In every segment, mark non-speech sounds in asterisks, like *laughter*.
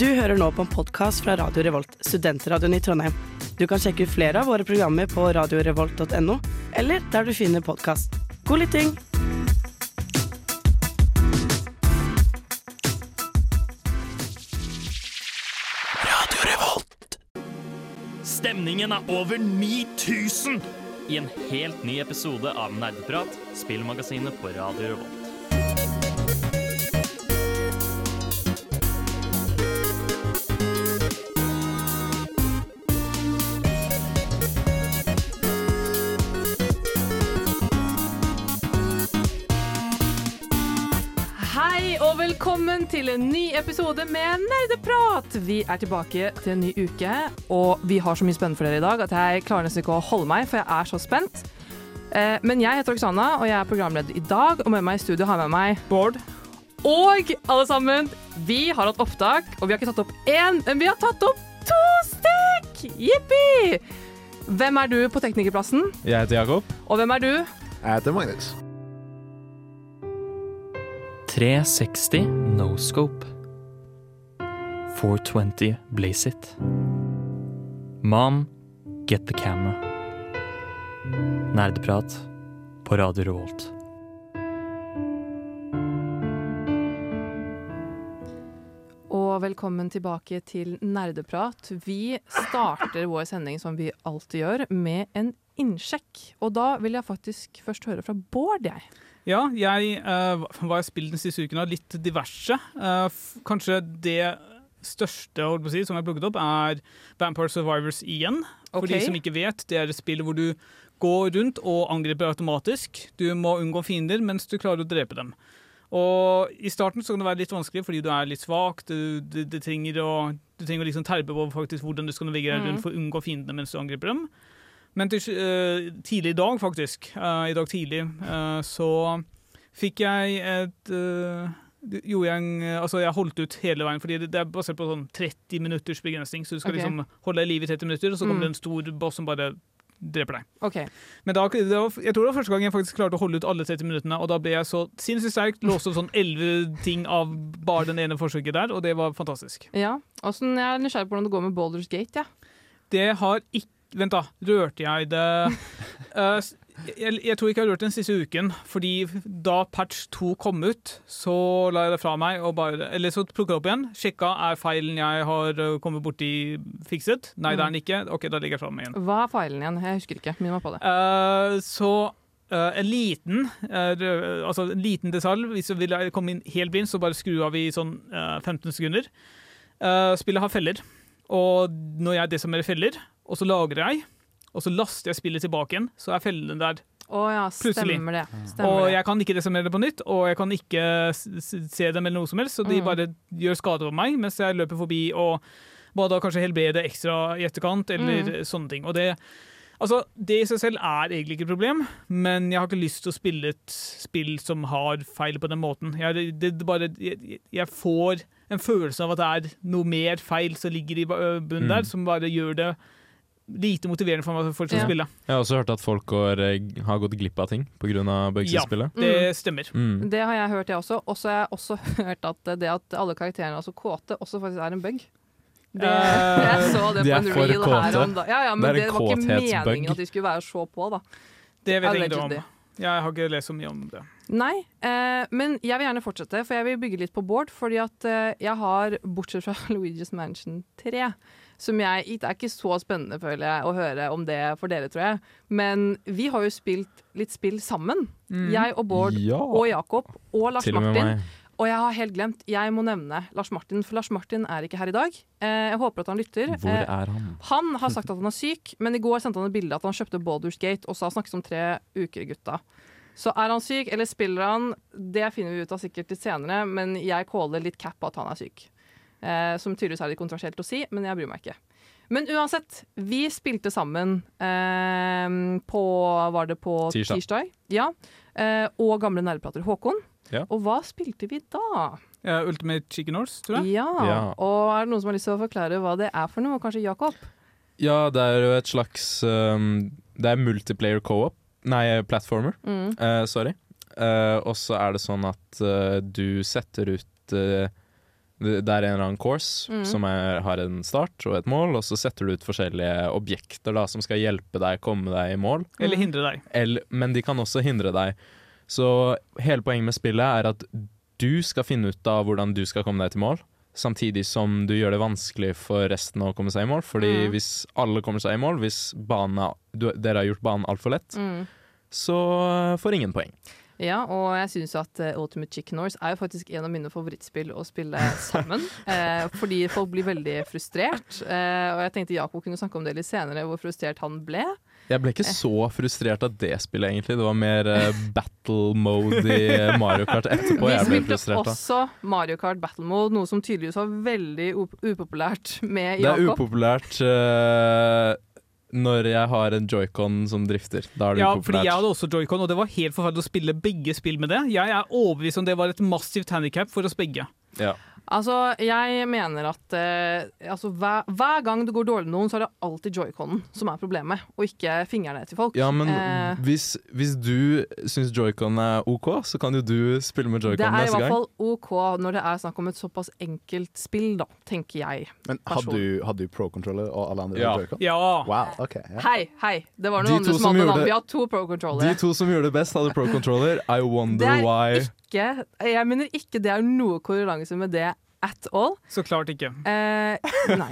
Du hører nå på en podkast fra Radio Revolt, studentradioen i Trondheim. Du kan sjekke ut flere av våre programmer på radiorevolt.no, eller der du finner podkast. God lytting! Stemningen er over 9000 i en helt ny episode av Nerdeprat, spillmagasinet på Radio Revolt. Hei og velkommen til en ny episode med Nerdeprat! Vi er tilbake til en ny uke, og vi har så mye spennende for dere i dag at jeg klarer nesten ikke å holde meg, for jeg er så spent. Eh, Men jeg heter Oksana, og jeg er programleder i dag, og med meg i studio har jeg med meg Bård. Og alle sammen, vi har hatt opptak, og vi har ikke tatt opp én, men vi har tatt opp to stykk! Jippi! Hvem er du på teknikerplassen, Jeg heter Jakob. og hvem er du? Jeg heter Magnus. 360 no scope. 420 blaze it. Mom, get the camera. Nerdeprat på Radio Revolt. Og velkommen tilbake til Nerdeprat. Vi starter vår sending som vi alltid gjør, med en innsjekk. Og da vil jeg faktisk først høre fra Bård, jeg. Ja, jeg, eh, hva hva har jeg spilt den siste uken? da? Litt diverse. Eh, f- kanskje det største holdt på å si, som jeg har plukket opp, er Vampire Survivors igjen. For de Ok. som ikke vet, det er et spill hvor du går rundt og angriper automatisk. Du må unngå fiender mens du klarer å drepe dem. Og I starten så kan det være litt vanskelig fordi du er litt svak. Du, du, du trenger å, du trenger å liksom terpe på faktisk hvordan du skal navigere Mm. rundt for å unngå fiendene mens du angriper dem. Men til, sl- eh, tidlig i dag, faktisk, eh, i dag tidlig, eh, så fikk jeg et eh, det Gjorde jeg en eh, Altså, jeg holdt ut hele veien, fordi det, det er basert på sånn 30 minutters begrensning. Så du skal Ok. liksom holde deg i live i 30 minutter, og så Mm. kommer det en stor boss som bare dreper deg. OK. Men da, det var, jeg tror det var første gang jeg faktisk klarte å holde ut alle 30 minuttene, og da ble jeg så sinnssykt sterk. Låste opp sånn 11 ting av bare den ene forsøket der, og det var fantastisk. Ja. Åssen jeg er nysgjerrig på hvordan det går med Boulders Gate, jeg. Det har ikke Vent, da. Rørte jeg det Eh, s- jeg, jeg tror ikke jeg har rørt den siste uken, fordi da patch 2 kom ut, så la jeg det fra meg, og bare, eller så plukka jeg det opp igjen. Sjekka er feilen jeg har eh, kommet borti, fikset. Nei, det er den ikke. OK, da legger jeg fra meg igjen. Hva er feilen igjen? Jeg husker ikke. Minn meg på det. Eh, så eh, en liten eh, rø- Altså en liten detalj. Hvis du vil komme inn helt blind, så bare skru av i sånn eh, 15 sekunder. Eh, spillet har feller, og når jeg desimerer feller, og så lagrer jeg, og så laster jeg spillet tilbake igjen, så er fellene der. Å ja, stemmer det. Stemmer Og det. jeg kan ikke desimere det på nytt, og jeg kan ikke s- s- se dem eller noe som helst, så de Mm. bare gjør skade på meg mens jeg løper forbi og bare da kanskje helbrede ekstra i etterkant, Mm. eller sånne ting. Og det, altså, det i seg selv er egentlig ikke et problem, men jeg har ikke lyst til å spille et spill som har feil på den måten. Jeg, det, det bare, jeg, jeg får en følelse av at det er noe mer feil som ligger i ba- ø, bunnen Mm. der, som bare gjør det lite motiverende for meg å fortsette Ja. å spille. Jeg har også hørt at folk går, eh, har gått glipp av ting pga. bugs i Ja. spillet. Det stemmer. Mm. Det har jeg hørt, jeg også. Og så har jeg også *laughs* hørt at det at alle karakterene er så kåte, også faktisk er en bug. Det, Eh, jeg så det de på er en for reel her kåte. om dagen. Ja, ja, men Det er det, en var ikke kåthetsbug. meningen at de skulle være så på, da. Det vet jeg ingenting Allegedly. om. Jeg har ikke lest så mye om det. Nei, eh, men jeg vil gjerne fortsette, for jeg vil bygge litt på Bård. Fordi at eh, jeg har, bortsett fra *laughs* Luigi's Mansion 3, som jeg Det er ikke så spennende, føler jeg, å høre om det for dere, tror jeg. Men vi har jo spilt litt spill sammen. Jeg og Bård Mm. Ja. og Jakob og Lars Til og med Martin. meg. Og jeg har helt glemt, jeg må nevne Lars Martin, for Lars Martin er ikke her i dag. Eh, jeg håper at han lytter. Hvor Eh, er han? han har sagt at han er syk, men i går sendte han et bilde at han kjøpte Baldur's Gate og sa snakkes om tre uker, gutta. Så er han syk, eller spiller han, det finner vi ut av sikkert litt senere, men jeg caller litt cap på at han er syk. Eh, som tydeligvis er litt kontroversielt å si, men jeg bryr meg ikke. Men uansett, vi spilte sammen eh, på Var det på Tirsdag. tirsdag? Ja. Eh, og gamle nerdeprater Håkon. Ja. Og hva spilte vi da? Eh, Ultimate Chicken Horse, tror jeg. Ja. Ja. Og er det noen som har lyst til å forklare hva det er for noe? Kanskje Jakob? Ja, det er jo et slags um, Det er multiplayer co-op. Nei, platformer. Mm. Eh, sorry. Eh, og så er det sånn at eh, du setter ut eh, Det det er en eller annen course Mm. som er, har en start og et mål, og så setter du ut forskjellige objekter da, som skal hjelpe deg komme deg i mål. Eller hindre deg. Eller, men de kan også hindre deg. Så hele poenget med spillet er at du skal finne ut av hvordan du skal komme deg til mål, samtidig som du gjør det vanskelig for resten å komme seg i mål. Fordi Mm. hvis alle kommer seg i mål, hvis banen er, du, dere har gjort banen altfor lett, Mm. så eh, får ingen poeng. Ja, og jeg syns at eh, Ultimate Chicken Horse er jo faktisk en av mine favorittspill å spille sammen. eh, fordi folk blir veldig frustrert. Eh, og jeg tenkte Jakob kunne snakke om det litt senere, hvor frustrert han ble. Jeg ble ikke så frustrert av det spillet, egentlig. Det var mer eh, battle mode i eh, Mario Kart etterpå Vi jeg ble spilte frustrert av. også Mario Kart Battle Mode, noe som tydeligvis var veldig up upopulært med Det er Jakob. upopulært eh, når jeg har en joycon som drifter. Da er det Ja, fordi upopulært. jeg hadde også joycon, og det var helt forferdelig å spille begge spill med det. Jeg er overbevist om det var et massivt handikap for oss begge. Ja. Altså, jeg mener at eh, altså, hver, hver gang det går dårlig med noen, så er det alltid joyconen som er problemet, og ikke fingrene til folk. Ja, men Eh, hvis, hvis du syns joycon er OK, så kan jo du spille med det er joycon i neste hvert gang. fall OK når det er snakk om et såpass enkelt spill, da, tenker jeg. Men hadde du, hadde du pro-controller og alle andre Ja. Joy-Con? Ja. Wow, ok. Ja. Hei, hei! Det var De noen andre to som som hadde gjorde navn. det- Vi har to pro De controllere. to som gjorde det best, hadde pro controller. I Det wonder er why. Ikke, jeg mener ikke det er noe korrelanse med det at all. Så klart ikke. Eh, nei.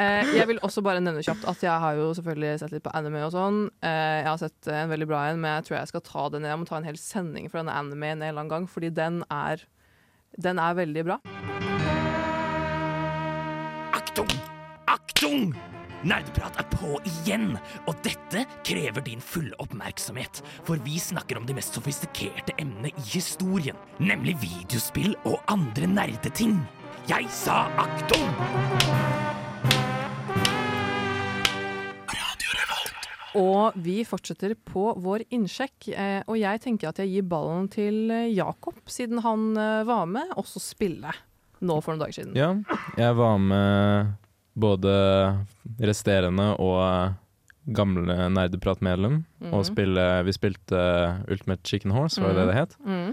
Eh, jeg vil også bare nevne kjapt at jeg har jo selvfølgelig sett litt på anime og sånn. Eh, jeg har sett en veldig bra en, men jeg tror jeg skal ta den. Jeg må ta en hel sending for denne anime en eller annen gang, fordi den er, den er veldig bra. Aktung! Aktung! Nerdeprat er på igjen, og dette krever din fulle oppmerksomhet. For vi snakker om det mest sofistikerte emnet i historien, nemlig videospill og andre nerdeting. Jeg sa aktung! Og vi fortsetter på vår innsjekk. Eh, og jeg tenker at jeg gir ballen til eh, Jakob, siden han eh, var med, også spille nå for noen dager siden. Ja, jeg var med både resterende og gamle nerdepratmedlem. Mhm. Og spille, vi spilte eh, Ultimate Chicken Horse, var det det det het. Mm.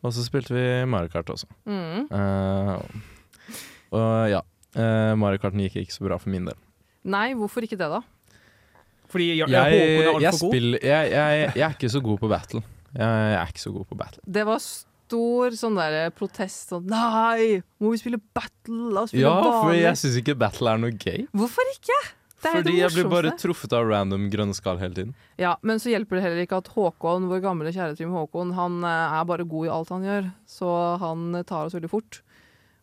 Og så spilte vi Mario Kart også. Mm. Eh, og ja. eh, Mario Karten gikk ikke så bra for min del. Nei, hvorfor ikke det, da? Fordi jeg, jeg, håper det er jeg, jeg, altfor god. spiller, jeg, jeg, jeg er ikke så god på battle. Jeg, jeg er ikke så god på battle. Det var stor sånn der protest sånn Nei, må vi spille battle? La oss spille Ja, for vanlig. jeg syns ikke battle er noe gøy. Hvorfor ikke? Det er jo det Fordi jeg blir bare morsomste. truffet av random grønne skall hele tiden. Ja, Men så hjelper det heller ikke at Håkon, vår gamle kjære Trym Håkon, han eh, er bare god i alt han gjør, så han eh, tar oss veldig fort.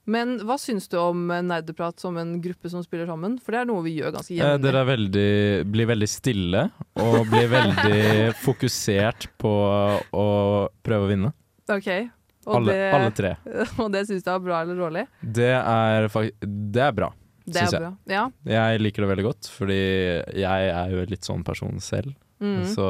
Men hva syns du om eh, nerdeprat som en gruppe som spiller sammen? For det er noe vi gjør ganske Eh, jevnlig. dere er veldig, blir veldig stille og blir *laughs* veldig fokusert på å prøve å vinne. Ok, og, Alle, det, alle tre. *laughs* og det syns du er bra eller dårlig? Det er, fak- det er bra. Det Syns er jeg. bra. Ja. Jeg liker det veldig godt, fordi jeg er jo litt sånn person selv. Mm. Så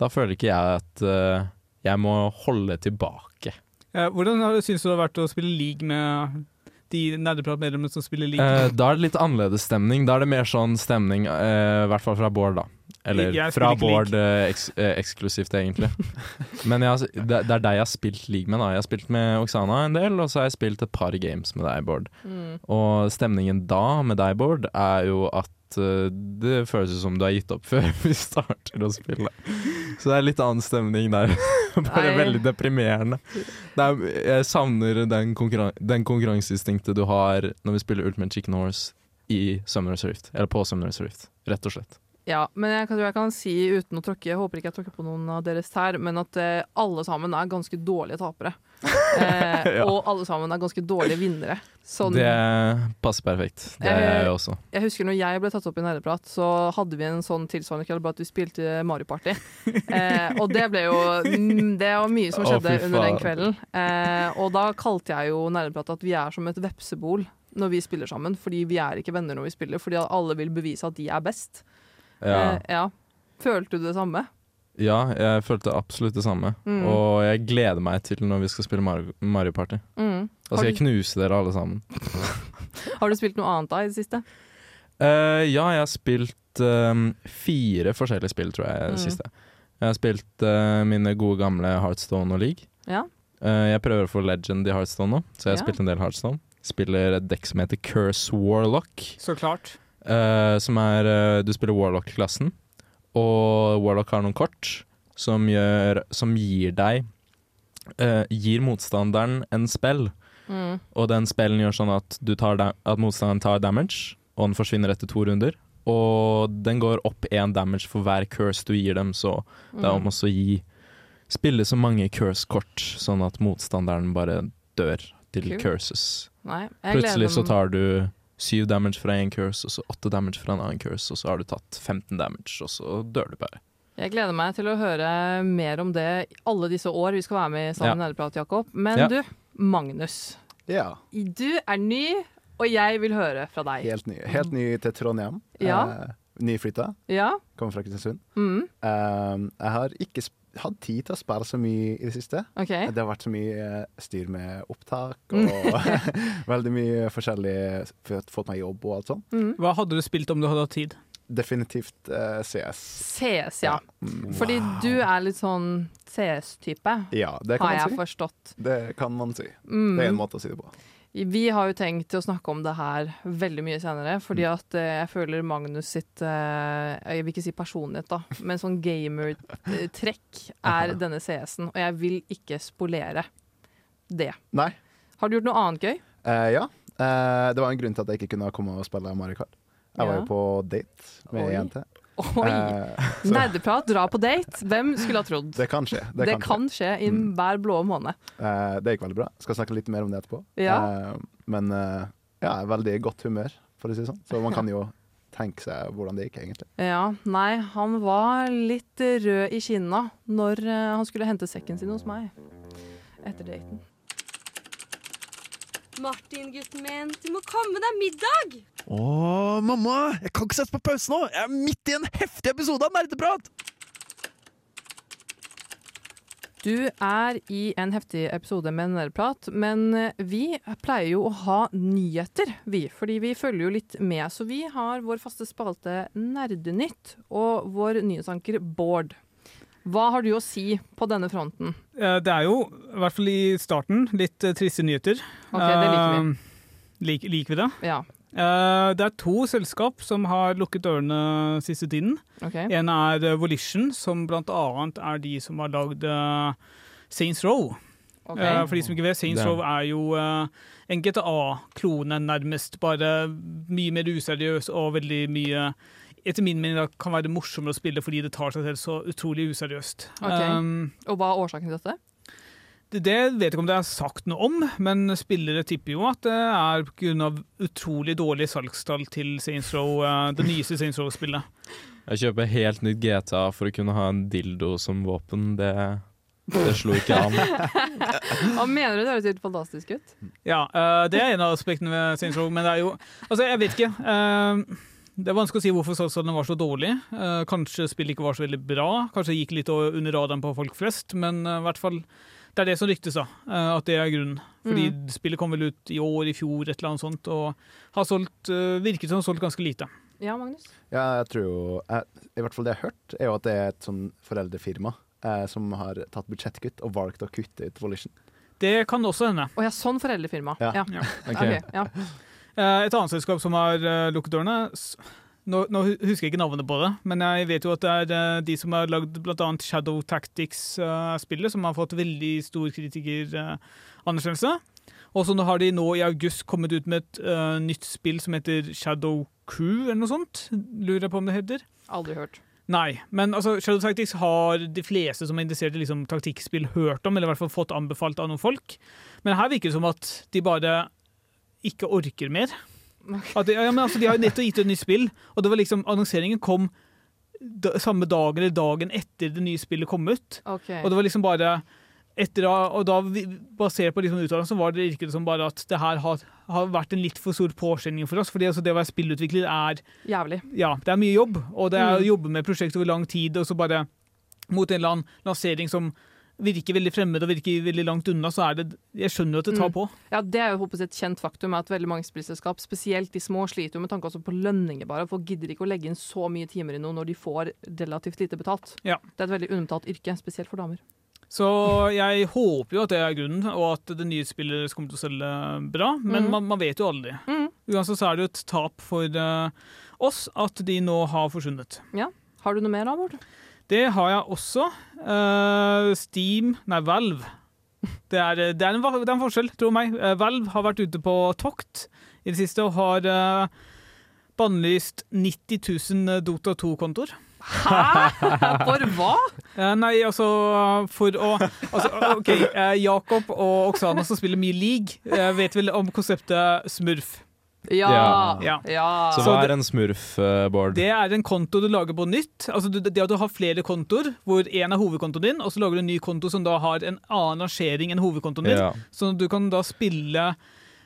da føler ikke jeg at eh, jeg må holde tilbake. Eh, Hvordan har- syns du det har vært å spille league med de nerdepratmedlemmene som spiller Eh, league? da er det litt annerledes stemning. Da er det mer sånn stemning, eh, i hvert fall fra Bård, da. Eller Jeg fra spiller ikke Bård eh, eks eh, eksklusivt, *laughs* egentlig. Men jeg, har s- det, det er deg jeg har spilt league med. da Jeg har spilt med Oksana en del, og så har jeg spilt et par games med deg, Bård. Mm. Og stemningen da med deg, Bård, er jo at eh, det føles ut som du har gitt opp *laughs* før vi starter å spille. Så det er litt annen stemning der. *laughs* Bare Nei. veldig deprimerende. Det er, jeg savner den, konkurran den konkurranseinstinktet du har når vi spiller Ultimate Chicken Horse i Summoner's Rift. Eller på Summoner's Rift, rett og slett. Ja, men jeg kan- tror jeg kan si uten å tråkke Jeg håper ikke jeg tråkker på noen av deres tær, men at eh, alle sammen er ganske dårlige *laughs* tapere. Eh, Ja. Og alle sammen er ganske dårlige vinnere. Sånn, Det passer perfekt. Det er Eh, jeg også. Jeg husker når jeg ble tatt opp i nerdeprat, så hadde vi en sånn tilsvarende kveld, bare at vi spilte Mario *laughs* Party. Eh, og det ble jo mm, Det var mye som Å, skjedde fy under den faen. kvelden. Eh, og da kalte jeg jo nerdeprat at vi er som et vepsebol når vi spiller sammen, fordi vi er ikke venner når vi spiller, fordi alle vil bevise at de er best. Ja. Eh, ja. Følte du det samme? ja, jeg følte absolutt det samme. Mm. Og jeg gleder meg til når vi skal spille Mario, Mario Party. Mm. Da Har skal du- Altså, jeg knuse dere alle sammen. Har du spilt noe annet da i det siste? Eh, ja, jeg har spilt eh, fire forskjellige spill, tror jeg, Mm. siste. Jeg har spilt eh, mine gode gamle Heartstone og League. Ja. Eh, jeg prøver å få Legend i Heartstone nå, så jeg har Ja. spilt en del Heartstone. Spiller et dekk som heter Curse Warlock, Så klart. eh, som er eh, Du spiller Warlock-klassen, og Warlock har noen kort som, gjør, som gir deg eh, Gir motstanderen en spell, Mm. og den spellen gjør sånn at, du tar da at motstanderen tar damage, og den forsvinner etter to runder. Og den går opp én damage for hver curse du gir dem, så det Mm. er om også å gi Spille så mange curse-kort, sånn at motstanderen bare dør til Kult. curses. Nei, jeg Plutselig gleder så meg. tar du syv damage fra én curse, og så åtte damage fra en annen curse, og så har du tatt 15 damage, og så dør du bare. Jeg gleder meg til å høre mer om det i alle disse år vi skal være med i Ja. Sammen nerdeprat, Jakob. Men Ja. du, Magnus. Ja, Du er ny, og jeg vil høre fra deg. helt ny. Helt ny til Trondheim. Ja. Eh, Nyflytta. Ja? Kommer fra Kristiansund. Mm. Eh, jeg har ikke sp- hatt tid til å spille så mye i det siste. OK. Det har vært så mye eh, styr med opptak Mm. *laughs* og *laughs* veldig mye forskjellig fått- Fått meg jobb og alt sånt. Mm. Hva hadde du spilt om du hadde hatt tid? Definitivt eh, CS. CS, ja. Mm. Fordi du er litt sånn CS-type, Ja, det har kan man jeg si. forstått. Det kan man si. Mm. Det er en måte å si det på. Vi har jo tenkt å snakke om det her veldig mye senere, fordi Mm. at eh, jeg føler Magnus sitt eh, Jeg vil ikke si personlighet, da, men sånn gamer-trekk *laughs* er denne CS-en. Og jeg vil ikke spolere det. Nei. Har du gjort noe annet gøy? Eh, ja. Eh, det var en grunn til at jeg ikke kunne komme og spille Mario Kart. Jeg var Ja. jo på date med Oi. ei jente. Oi! Eh, så Nerdeprat, dra på date! Hvem skulle ha trodd? *laughs* det kan skje. Det, Det, kan skje. kan skje i Mm. hver blå måned. Eh, det gikk veldig bra. Skal snakke litt mer om det etterpå. Ja. Eh, men eh, ja, jeg er veldig i godt humør, for å si det sånn. Så man *laughs* kan jo tenke seg hvordan det gikk, egentlig. Ja, nei, han var litt rød i kinna når eh, han skulle hente sekken sin hos meg etter daten. Martin, gutten min, du må komme deg middag! Åh, mamma! Jeg kan ikke sette på pause nå! Jeg er midt i en heftig episode av Nerdeprat! Du er i en heftig episode med Nerdeprat, men eh, vi pleier jo å ha nyheter, vi. Fordi vi følger jo litt med, så vi har vår faste spalte Nerdenytt og vår nyhetsanker Bård. Hva har du å si på denne fronten? Eh, Det er jo, i hvert fall i starten, litt eh, triste nyheter. Ok, det liker vi. Eh, lik- liker vi det? Ja, Eh, Det er to selskap som har lukket dørene siste tiden. ok. En er eh, Volition, som blant annet er de som har lagd eh, Saints Row. ok. Eh, For de som ikke vet, Saints Det- Row er jo eh, en GTA-klone, nærmest. Bare mye mer useriøs og veldig mye Etter min mening da, kan være morsommere å spille fordi det tar seg selv så utrolig useriøst. Ok. Um, Og hva er årsaken til dette? det det vet jeg ikke om det er sagt noe om, men spillere tipper jo at det er pga. utrolig dårlige salgstall til Saints Row, eh, det nyeste Saints Row-spillet. Jeg kjøper helt nytt GTA for å kunne ha en dildo som våpen. Det, det slo ikke an. *laughs* Hva mener du det høres helt fantastisk ut? Ja, eh, det er en av aspektene ved Saints Row, men det er jo Altså, jeg vet ikke. eh, det er vanskelig å si hvorfor salgstallene var så dårlige. Eh, kanskje spillet ikke var så veldig bra. Kanskje det gikk litt over- under radaren på folk flest, men eh, i hvert fall Det er det som ryktes, da. eh, at det er grunnen. Fordi Mm. spillet kom vel ut i år, i fjor, et eller annet sånt, og har solgt, eh, virket som solgt ganske lite. Ja, Magnus? Ja, jeg tror jo jeg, I hvert fall det jeg har hørt, er jo at det er et sånn foreldrefirma eh, som har tatt budsjettkutt og valgt å kutte ut Volition. Det kan også hende. Å ja, sånn foreldrefirma. Ja. Ja. Ok. ok, ja. Eh, Et annet selskap som har eh, lukket dørene s- nå, nå hu- husker jeg ikke navnet på det, men jeg vet jo at det er eh, de som har lagd bl.a. Shadow Tactics-spillet, som har fått veldig stor kritikeranerkjennelse. Og så nå har de nå i august kommet ut med et eh, nytt spill som heter Shadow Crew, eller noe sånt. Lurer jeg på om det heter. Aldri hørt. Nei, men altså, Shadow Tactics har de fleste som er interessert i liksom, taktikkspill, hørt om, eller i hvert fall fått anbefalt av noen folk. Men her virker det som at de bare ikke orker mer. At de, ja, men altså, de har jo nettopp gitt ut et nytt spill, og det var liksom, annonseringen kom da, samme dag eller dagen etter det nye spillet kom ut. Ok. Og det var liksom bare etter, da- og da vi- Basert på liksom uttalelsen var det virket det som bare at det her har, har vært en litt for stor påkjenning for oss. fordi altså, det å være spillutvikler er Jævlig. ja, det er mye jobb, og det er å Mm. jobbe med prosjekt over lang tid, og så bare mot en eller annen lansering som virker veldig fremmed og virker veldig langt unna, så er det Jeg skjønner jo at det tar Mm. på. Ja, Det er jo håpet et kjent faktum at veldig mange spillselskap, spesielt de små, sliter jo med tanke også på lønninger. bare. Folk gidder ikke å legge inn så mye timer i noe når de får relativt lite betalt. Ja. Det er et veldig underbetalt yrke, spesielt for damer. Så jeg håper jo at det er grunnen, og at det nye spillet kommer til å selge bra. Men Mhm. man, man vet jo aldri. Mhm. Uansett så er det jo et tap for eh, oss at de nå har forsvunnet. Har du noe mer, da, Bård? Det har jeg også. Eh, Steam Nei, Valve. Det er, det, er en, det er en forskjell, tro meg. Eh, Valve har vært ute på tokt i det siste og har eh, bannlyst 90 000 Dota 2-kontoer. *laughs* For hva? Eh, nei, altså for å altså, OK, eh, Jakob og Oksana som spiller mye league, eh, vet vel om konseptet smurf. Ja. Ja. Ja. Så Ah. Så hva det- er en smurf, eh, Bård? Det er en konto du lager på nytt. Altså du- det at du har flere kontoer, hvor én er hovedkontoen din, og så lager du en ny konto som da har en annen rangering enn hovedkontoen din. Ja. Sånn at du kan da spille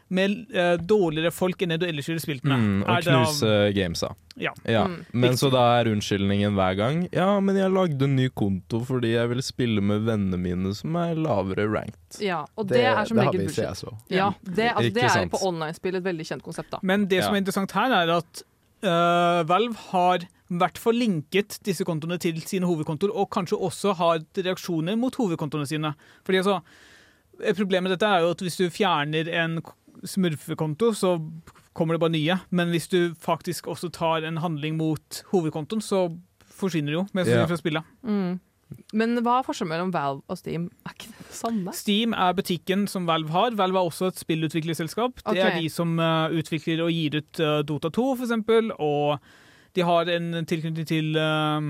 med eh, dårligere folk enn det du ellers ville spilt med. Mm, Er og det av- knuse gamesa. Ja. Mm. Men så da er unnskyldningen hver gang Ja, men jeg lagde en ny konto fordi jeg vil spille med vennene mine som er lavere ranked. ja. Og det, er som det har regel vi i bullshit. CS også. Ja, det, altså, Ikke det er sant. på online-spill et veldig kjent konsept, da. Men det som Ja. er interessant her, er at eh, Valve har i hvert fall linket disse kontoene til sine hovedkontoer, og kanskje også har reaksjoner mot hovedkontoene sine. Fordi altså, eh, Problemet med dette er jo at hvis du fjerner en k- smurfekonto, så kommer det bare nye. Men hvis du faktisk også tar en handling mot hovedkontoen, så forsvinner det jo. Mest Ja. sannsynlig fra spillet. Mm. Men hva er forskjellen mellom Valve og Steam? Er ikke det det samme? Steam er butikken som Valve har. Valve er også et spillutviklerselskap. Det er Ok. de som eh, utvikler og gir ut eh, Dota 2, for eksempel, og de har en tilknytning til eh,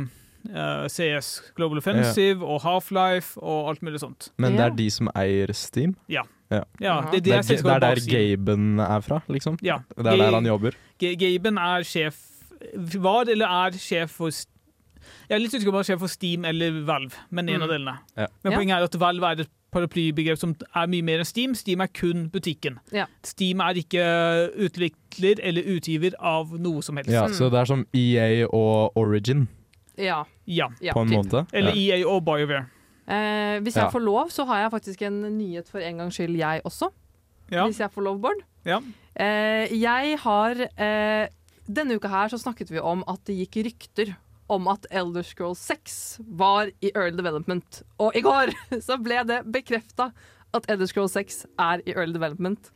eh, CS Global Offensive og Half-Life og alt mulig sånt. Men det Ja. er de som eier Steam. Ja, Ja. det, det Det er er, det er selskapet der bak Steam. Gaben er fra, liksom. Ja. Det er der han jobber. Ga- Gaben er sjef Var eller er sjef for S- Jeg er litt usikker på om han er sjef for Steam eller Valve, men en Mm. av delene. Ja. Men Ja. poenget er at Valve er et paraplybegrep som er mye mer enn Steam. Steam er kun butikken. Ja. Steam er ikke utvikler eller utgiver av noe som helst. Ja, Mm. så det er som EA og Origin, Ja. Ja. ja på en typ. måte. Eller E ja. EA og BioWare. Eh, hvis Ja. jeg får lov, så har jeg faktisk en nyhet for en gangs skyld, jeg også. Ja. Hvis jeg får lov, Bård. Ja. Eh, jeg har eh, Denne uka her så snakket vi om at det gikk rykter om at Elder Scrolls 6 var i early development. Og i går *laughs* så ble det bekrefta at Elder Scrolls 6 er i early development.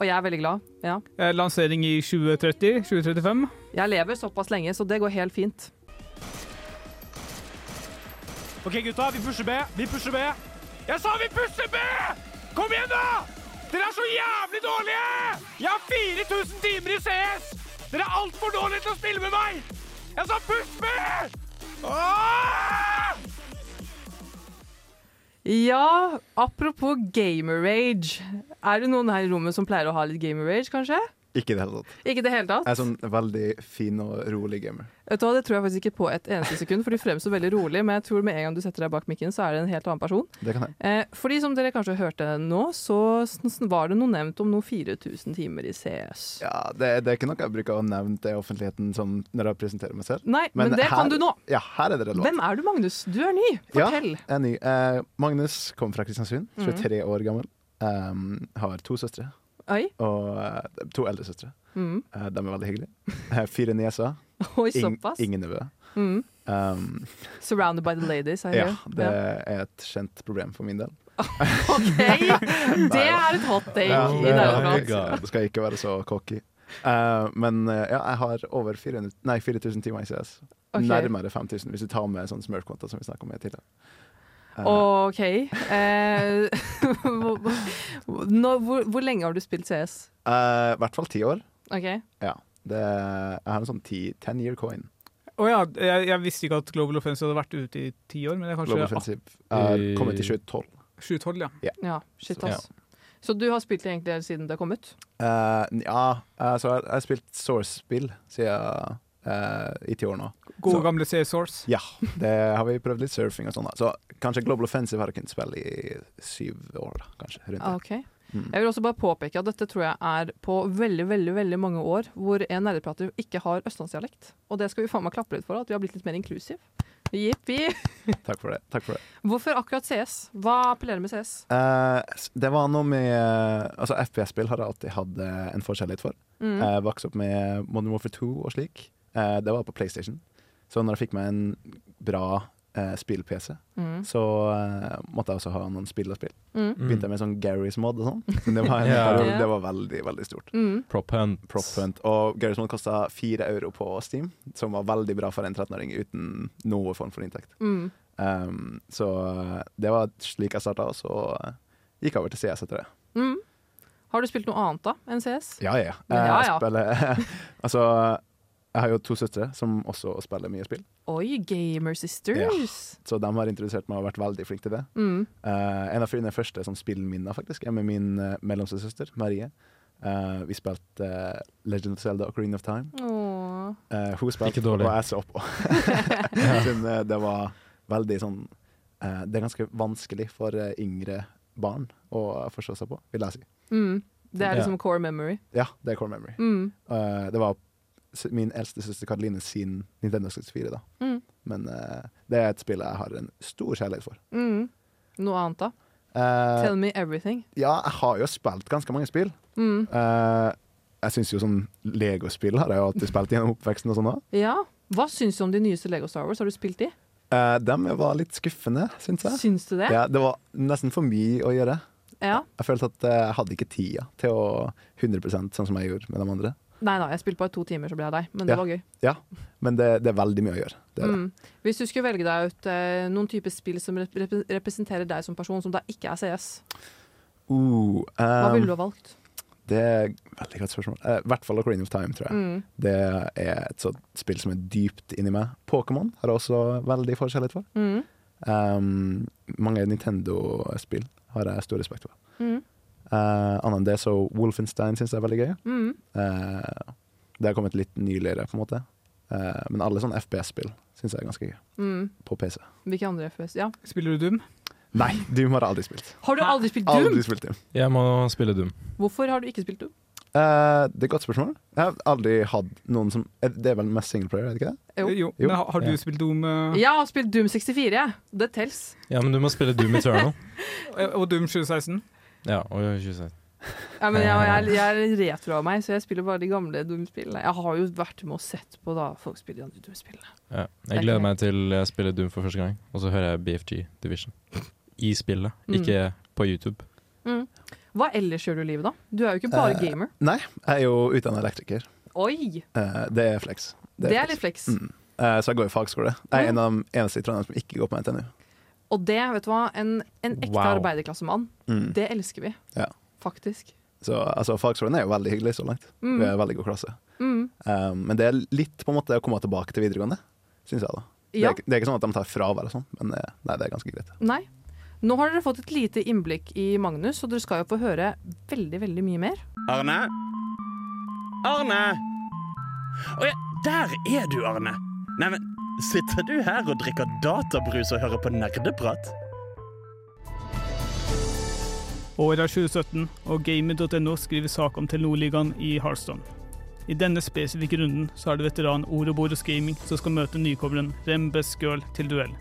Og jeg er veldig glad. Ja. Eh, Lansering i 2030? 2035? Jeg lever såpass lenge, så det går helt fint. Ok, gutta, vi pusher B. Vi pusher B. Jeg sa vi pusher B! Kom igjen, da! Dere er så jævlig dårlige! Jeg har 4000 timer i CS! Dere er altfor dårlige til å spille med meg! Jeg sa push B! Åh! Ja, apropos gamer-rage. Er det noen her i rommet som pleier å ha litt gamer-rage, kanskje? Ikke i det hele tatt. Ikke i det hele tatt? Jeg er sånn veldig fin og rolig gamer. Vet du hva, Det tror jeg faktisk ikke på et eneste sekund, for du fremstår veldig rolig. Men jeg tror med en gang du setter deg bak mikken, så er det en helt annen person. Det kan jeg. Eh, fordi som dere kanskje hørte nå, så sn- sn- var det noe nevnt om noen 4000 timer i CS. Ja, det, det er ikke noe jeg bruker å nevne til offentligheten sånn når jeg presenterer meg selv. Nei, men, Men det her- kan du nå! Ja, her er det relevant. Hvem er du, Magnus? Du er ny. Ja. Fortell. Mm. Jeg er ny. Eh, Magnus kommer fra Kristiansund, 23 år gammel. Em, har to søstre Oi. og eh, to eldre søstre. Mm. Eh, de er veldig hyggelige. Eh, fire nieser, Oi, *laughs* ing, såpass. ingen nevø. Mm. Em, Surrounded by the ladies, I ja, hear. det er et kjent problem for min del. *laughs* Ja. Ok, det er et hot take Ja, i det, nærheten. God. det skal ikke være så cocky. Eh, men eh, ja, jeg har over 400, nei, 4000 timer i CS. Ok. Nærmere 5000 hvis du tar med sånn smurf-konta som vi snakket om i tidligere. Eh, OK. Eh, *laughs* nå, hvor, hvor lenge har du spilt CS? eh, I hvert fall ti år. Ok. Ja. Det, jeg har en sånn ti, ten year coin. Å ja, jeg, jeg visste ikke at Global Offensive hadde vært ute i ti år, men det er Global Eh, kanskje Offensive er I- kommet i 2012. 7-12, ja. Ja, shit Så- ass. Så du har spilt det egentlig siden det kom ut? Eh, ja, eh, så jeg, jeg har spilt Source-spill siden eh, i ti år nå. Gode Så- gamle CS-source. Ja, det har vi prøvd litt surfing og sånn. da. Så kanskje Global Offensive har jeg kunnet spille i syv år, da, kanskje. Rundt der. Ok. Mm. Jeg vil også bare påpeke at dette tror jeg er på veldig veldig, veldig mange år hvor en nerdeprater ikke har østlandsdialekt. Og det skal vi faen meg klappe litt for, at vi har blitt litt mer inklusiv. Jippi. Takk for det. Takk for det. Hvorfor akkurat CS? Hva appellerer med CS? Eh, s- det var noe med eh, Altså, FPS-spill har jeg alltid hatt eh, en forskjellighet for. Mm. Jeg vokste opp med Modern Warfare 2 og slik. Eh, det var på PlayStation. Så når jeg fikk meg en bra eh, spill-PC, Mm. så eh, måtte jeg også ha noen spill å spille. Mm. Begynte jeg med sånn Garys Mod og sånn. Men det var, en, Ja. periode- det var veldig, veldig stort. Mm. Prop hunt. Prop Hunt. Og Garys Mod kosta fire euro på Steam, som var veldig bra for en 13-åring uten noe form for inntekt. Mm. Um, så det var slik jeg starta, og så eh, gikk jeg over til CS etter det. Mm. Har du spilt noe annet da enn CS? Ja, ja. Eh, Ja, Jeg ja. spiller *laughs* Altså, jeg har jo to søstre som også spiller mye spill, Oi, Gamer Sisters! så de har introdusert meg og vært veldig flinke til det. Mm. Eh, en av mine første sånn, spillminner faktisk, er med min uh, mellomsøster Marie. Eh, vi spilte eh, Legend of Zelda og Green of Time. Åh. Eh, hun spilte, Ikke dårlig. og jeg så *laughs* på. Siden, eh, det var veldig sånn eh, Det er ganske vanskelig for eh, yngre barn å forstå seg på, vil jeg si. Mm. Det er Ja. liksom core memory. Ja, det er core memory. Mm. Eh, det var s- min eldste søster Karoline sin Nintendo 64, da. Mm. Men eh, det er et spill jeg har en stor kjærlighet for. Mm. Noe annet, da? Eh, Tell me everything. ja, jeg har jo spilt ganske mange spill. Mm. Eh, jeg syns jo sånn legospill har jeg jo alltid spilt gjennom oppveksten og sånn òg. Ja. Hva syns du om de nyeste Lego Star Wars? Har du spilt de? Uh, dem var litt skuffende, syns jeg. Syns du det? Ja, det var nesten for mye å gjøre. Ja. Jeg følte at eh, jeg hadde ikke tida til å 100 sånn som jeg gjorde med de andre. Nei da, jeg spilte bare to timer, så ble jeg deg. Men det Ja. var gøy. Men det, det er veldig mye å gjøre. Det er det. Mm. Hvis du skulle velge deg ut eh, noen typer spill som rep rep- representerer deg som person, som da ikke er CS, Uh, hva ehm, ville du ha valgt? det er et veldig godt spørsmål. Eh, I hvert fall Ocarina of Time, tror jeg. Mm. Det er et sånt spill som er dypt inni meg. Pokémon har jeg også veldig forskjellighet for. Mm. Ehm, mange Nintendo-spill har jeg stor respekt for. Mm. Eh, Annet enn det, så Wolfenstein syns jeg er veldig gøy. Mm. Eh, det har kommet litt nyligere, på en måte. Eh, men alle sånne FPS-spill syns jeg er ganske gøy. Mm. På PC. Hvilke andre FPS? Ja. Spiller du Doom? Nei, Doom har jeg aldri spilt. Har du aldri spilt Doom? Aldri spilt Doom. Jeg må spille Doom. Hvorfor har du ikke spilt Doom? Eh, det er et godt spørsmål. Jeg har aldri hatt noen som eh, Det er vel mest singleplayer, er det ikke det? Jo. Jo. Men har, har du Ja. spilt Doom Mm. eh, Jeg har spilt Doom 64, jeg. Det tels. Ja, men du må spille Doom Eternal. *laughs* og Doom 2016? Ja, og 26. Ja, men jeg, jeg, jeg er retro av meg, så jeg spiller bare de gamle Doom-spillene. Jeg har jo vært med og sett på da folk spiller de andre Doom-spillene. Ja. Jeg gleder meg til jeg spiller Doom for første gang, og så hører jeg BFG Division. I spillet, Mm. ikke på YouTube. Hva ellers gjør du i livet, da? Du er jo ikke bare Eh, gamer. Jeg er jo utdanna elektriker. Oi! Eh, det er flex. Det er litt flex. Mm. Eh, så jeg går i fagskole. Jeg er en av de eneste i Trondheim som ikke går på NTNU. Og det, vet du hva, en, en ekte Wow. arbeiderklassemann, Mm. det elsker vi. Ja. Faktisk. Så altså, fagskolen er jo veldig hyggelig så langt. Mm. Vi er en veldig god klasse. Mm. Eh, men det er litt på en måte å komme tilbake til videregående, syns jeg. da det, Ja. er, ikke- det er ikke sånn at de tar fravær og sånn, men eh, nei, det er ganske greit. Nei. Nå har dere fått et lite innblikk i Magnus, og dere skal jo få høre veldig, veldig mye mer. Arne? Arne? Å ja, der er du, Arne. Neimen, sitter du her og drikker databrus og hører på nerdeprat? Året er 2017, og gamer.no skriver sak om Telenor-ligaen i Hearthstone. I denne spesifikke runden så er det veteran Oroboros Gaming som skal møte nykommeren Rem Best Girl til duell.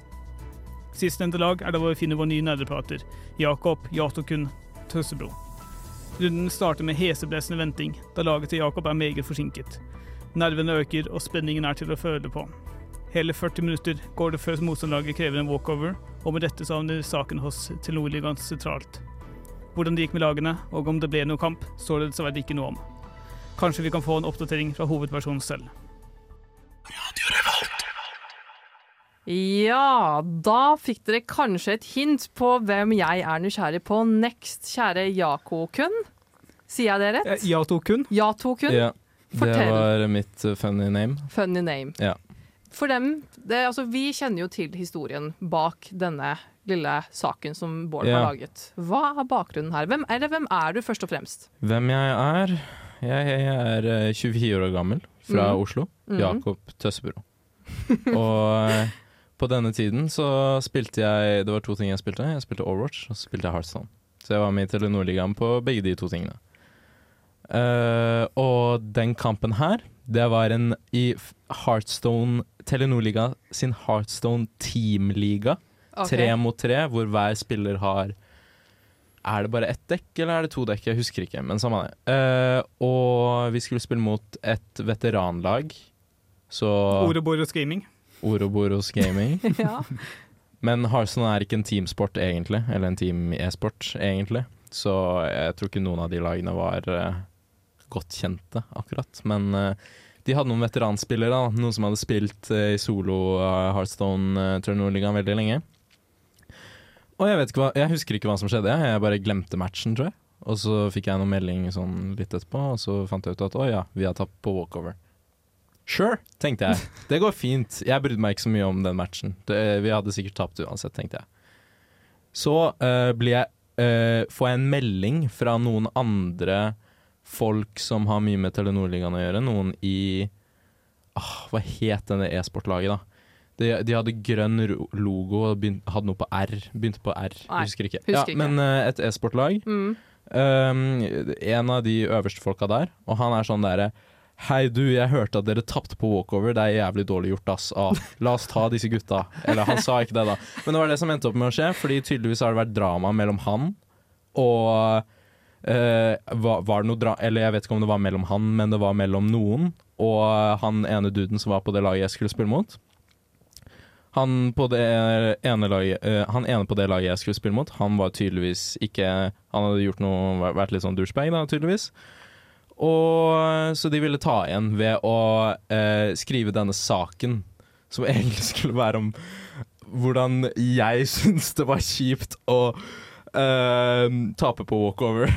Sistnevnte lag er der hvor vi finner vår nye nerdeprater, Jakob Jatokun Tøssebro. Runden starter med heseblesende venting, da laget til Jakob er meget forsinket. Nervene øker, og spenningen er til å føle på. Hele 40 minutter går det før motstanderlaget krever en walkover, og med dette så havner saken hos Telenor-ligaen sentralt. Hvordan det gikk med lagene, og om det ble noe kamp, står det dessverre ikke noe om. Kanskje vi kan få en oppdatering fra hovedpersonen selv. Ja, da fikk dere kanskje et hint på hvem jeg er nysgjerrig på next, kjære Jako-kun. Sier jeg det rett? Eh, Ja, Tokun. Jato-kun. Ja, det Fortell. var mitt eh, funny name. Funny name. Ja. For dem, det, altså, vi kjenner jo til historien bak denne lille saken som Bård Ja. har laget. Hva er bakgrunnen her? Hvem, eller hvem er du, først og fremst? Hvem jeg er? Jeg, jeg er eh, 24 år gammel, fra Mhm. Oslo. Mhm. Jakob Tøssebro. *laughs* Og eh, på denne tiden så spilte jeg Det var to ting jeg spilte. Jeg spilte Overwatch og så spilte jeg Heartstone. Så jeg var med i Telenor-ligaen på begge de to tingene. Eh, og den kampen her, det var en i f- Heartstone Telenor-liga sin Heartstone Team-liga. Ok. Tre mot tre, hvor hver spiller har Er det bare ett dekk, eller er det to dekk? Jeg husker ikke, men samme det. Eh, og vi skulle spille mot et veteranlag, så Oroboros Gaming. Oroboros Gaming. *laughs* Ja. Men Hearthstone er ikke en teamsport, egentlig. Eller en team e-sport, egentlig. Så jeg tror ikke noen av de lagene var eh, godt kjente, akkurat. Men eh, de hadde noen veteranspillere, da. Noen som hadde spilt eh, i solo uh, Hearthstone-turnoligaen veldig lenge. Og jeg, vet ikke hva, jeg husker ikke hva som skjedde, jeg. jeg bare glemte matchen, tror jeg. Og så fikk jeg noen melding sånn litt etterpå, og så fant jeg ut at å ja, vi har tapt på walkover. Sure, tenkte jeg. Det går fint. Jeg brydde meg ikke så mye om den matchen. Det, vi hadde sikkert tapt uansett, tenkte jeg. Så eh, blir jeg, eh, får jeg en melding fra noen andre folk som har mye med Telenor-ligaen å gjøre. Noen i ah, Hva het denne e-sportlaget, da? De, de hadde grønn ro- logo og begyn- hadde noe på R. Begynte på R, Nei, jeg husker ikke. husker ja, ikke. Men eh, et e-sportlag. Mm. Um, en av de øverste folka der, og han er sånn derre Hei du, jeg hørte at dere tapte på walkover, det er jævlig dårlig gjort ass. Ah, la oss ta disse gutta. Eller han sa ikke det, da. Men det var det som endte opp med å skje, fordi tydeligvis har det vært drama mellom han og eh, var, var det noe dra Eller jeg vet ikke om det var mellom han, men det var mellom noen. Og han ene duden som var på det laget jeg skulle spille mot. Han, på det ene laget, eh, han ene på det laget jeg skulle spille mot, han var tydeligvis ikke Han hadde gjort noe, vært litt sånn douchebag, da, tydeligvis. Og Så de ville ta igjen ved å eh, skrive denne saken, som egentlig *laughs* skulle være om hvordan jeg *laughs* syns det var kjipt å eh, tape på walkover.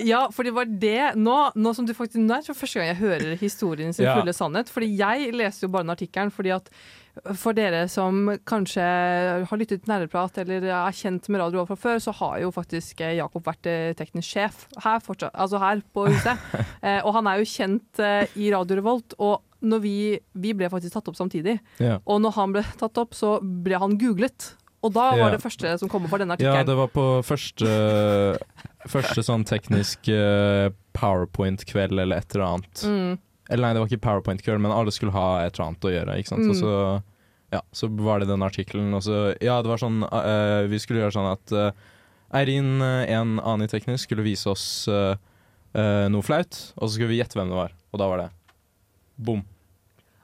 Ja, for det var det nå, nå som du faktisk Nå er det første gang jeg hører historien sin Ja. fulle sannhet. Fordi jeg leste jo bare den artikkelen fordi at for dere som kanskje har lyttet til Nerdeprat eller er kjent med Radio Revolt fra før, så har jo faktisk eh, Jakob vært eh, teknisk sjef her, fortsatt, altså her på *laughs* huset. Eh, og han er jo kjent eh, i Radio Revolt. Og når vi, vi ble faktisk tatt opp samtidig. Ja. Og når han ble tatt opp, så ble han googlet. Og da var Ja. det første som kom opp, var denne *laughs* Ja, artikkelen. det var på første Første sånn teknisk eh, powerpoint-kveld eller et eller annet. Mm. Eller nei, det var ikke powerpoint-kveld, men alle skulle ha et eller annet å gjøre. Ikke sant? Mm. Og så, ja, så var det den artikkelen, og så Ja, det var sånn eh, Vi skulle gjøre sånn at eh, Eirin, eh, en annen i teknisk, skulle vise oss eh, eh, noe flaut, og så skulle vi gjette hvem det var. Og da var det bom.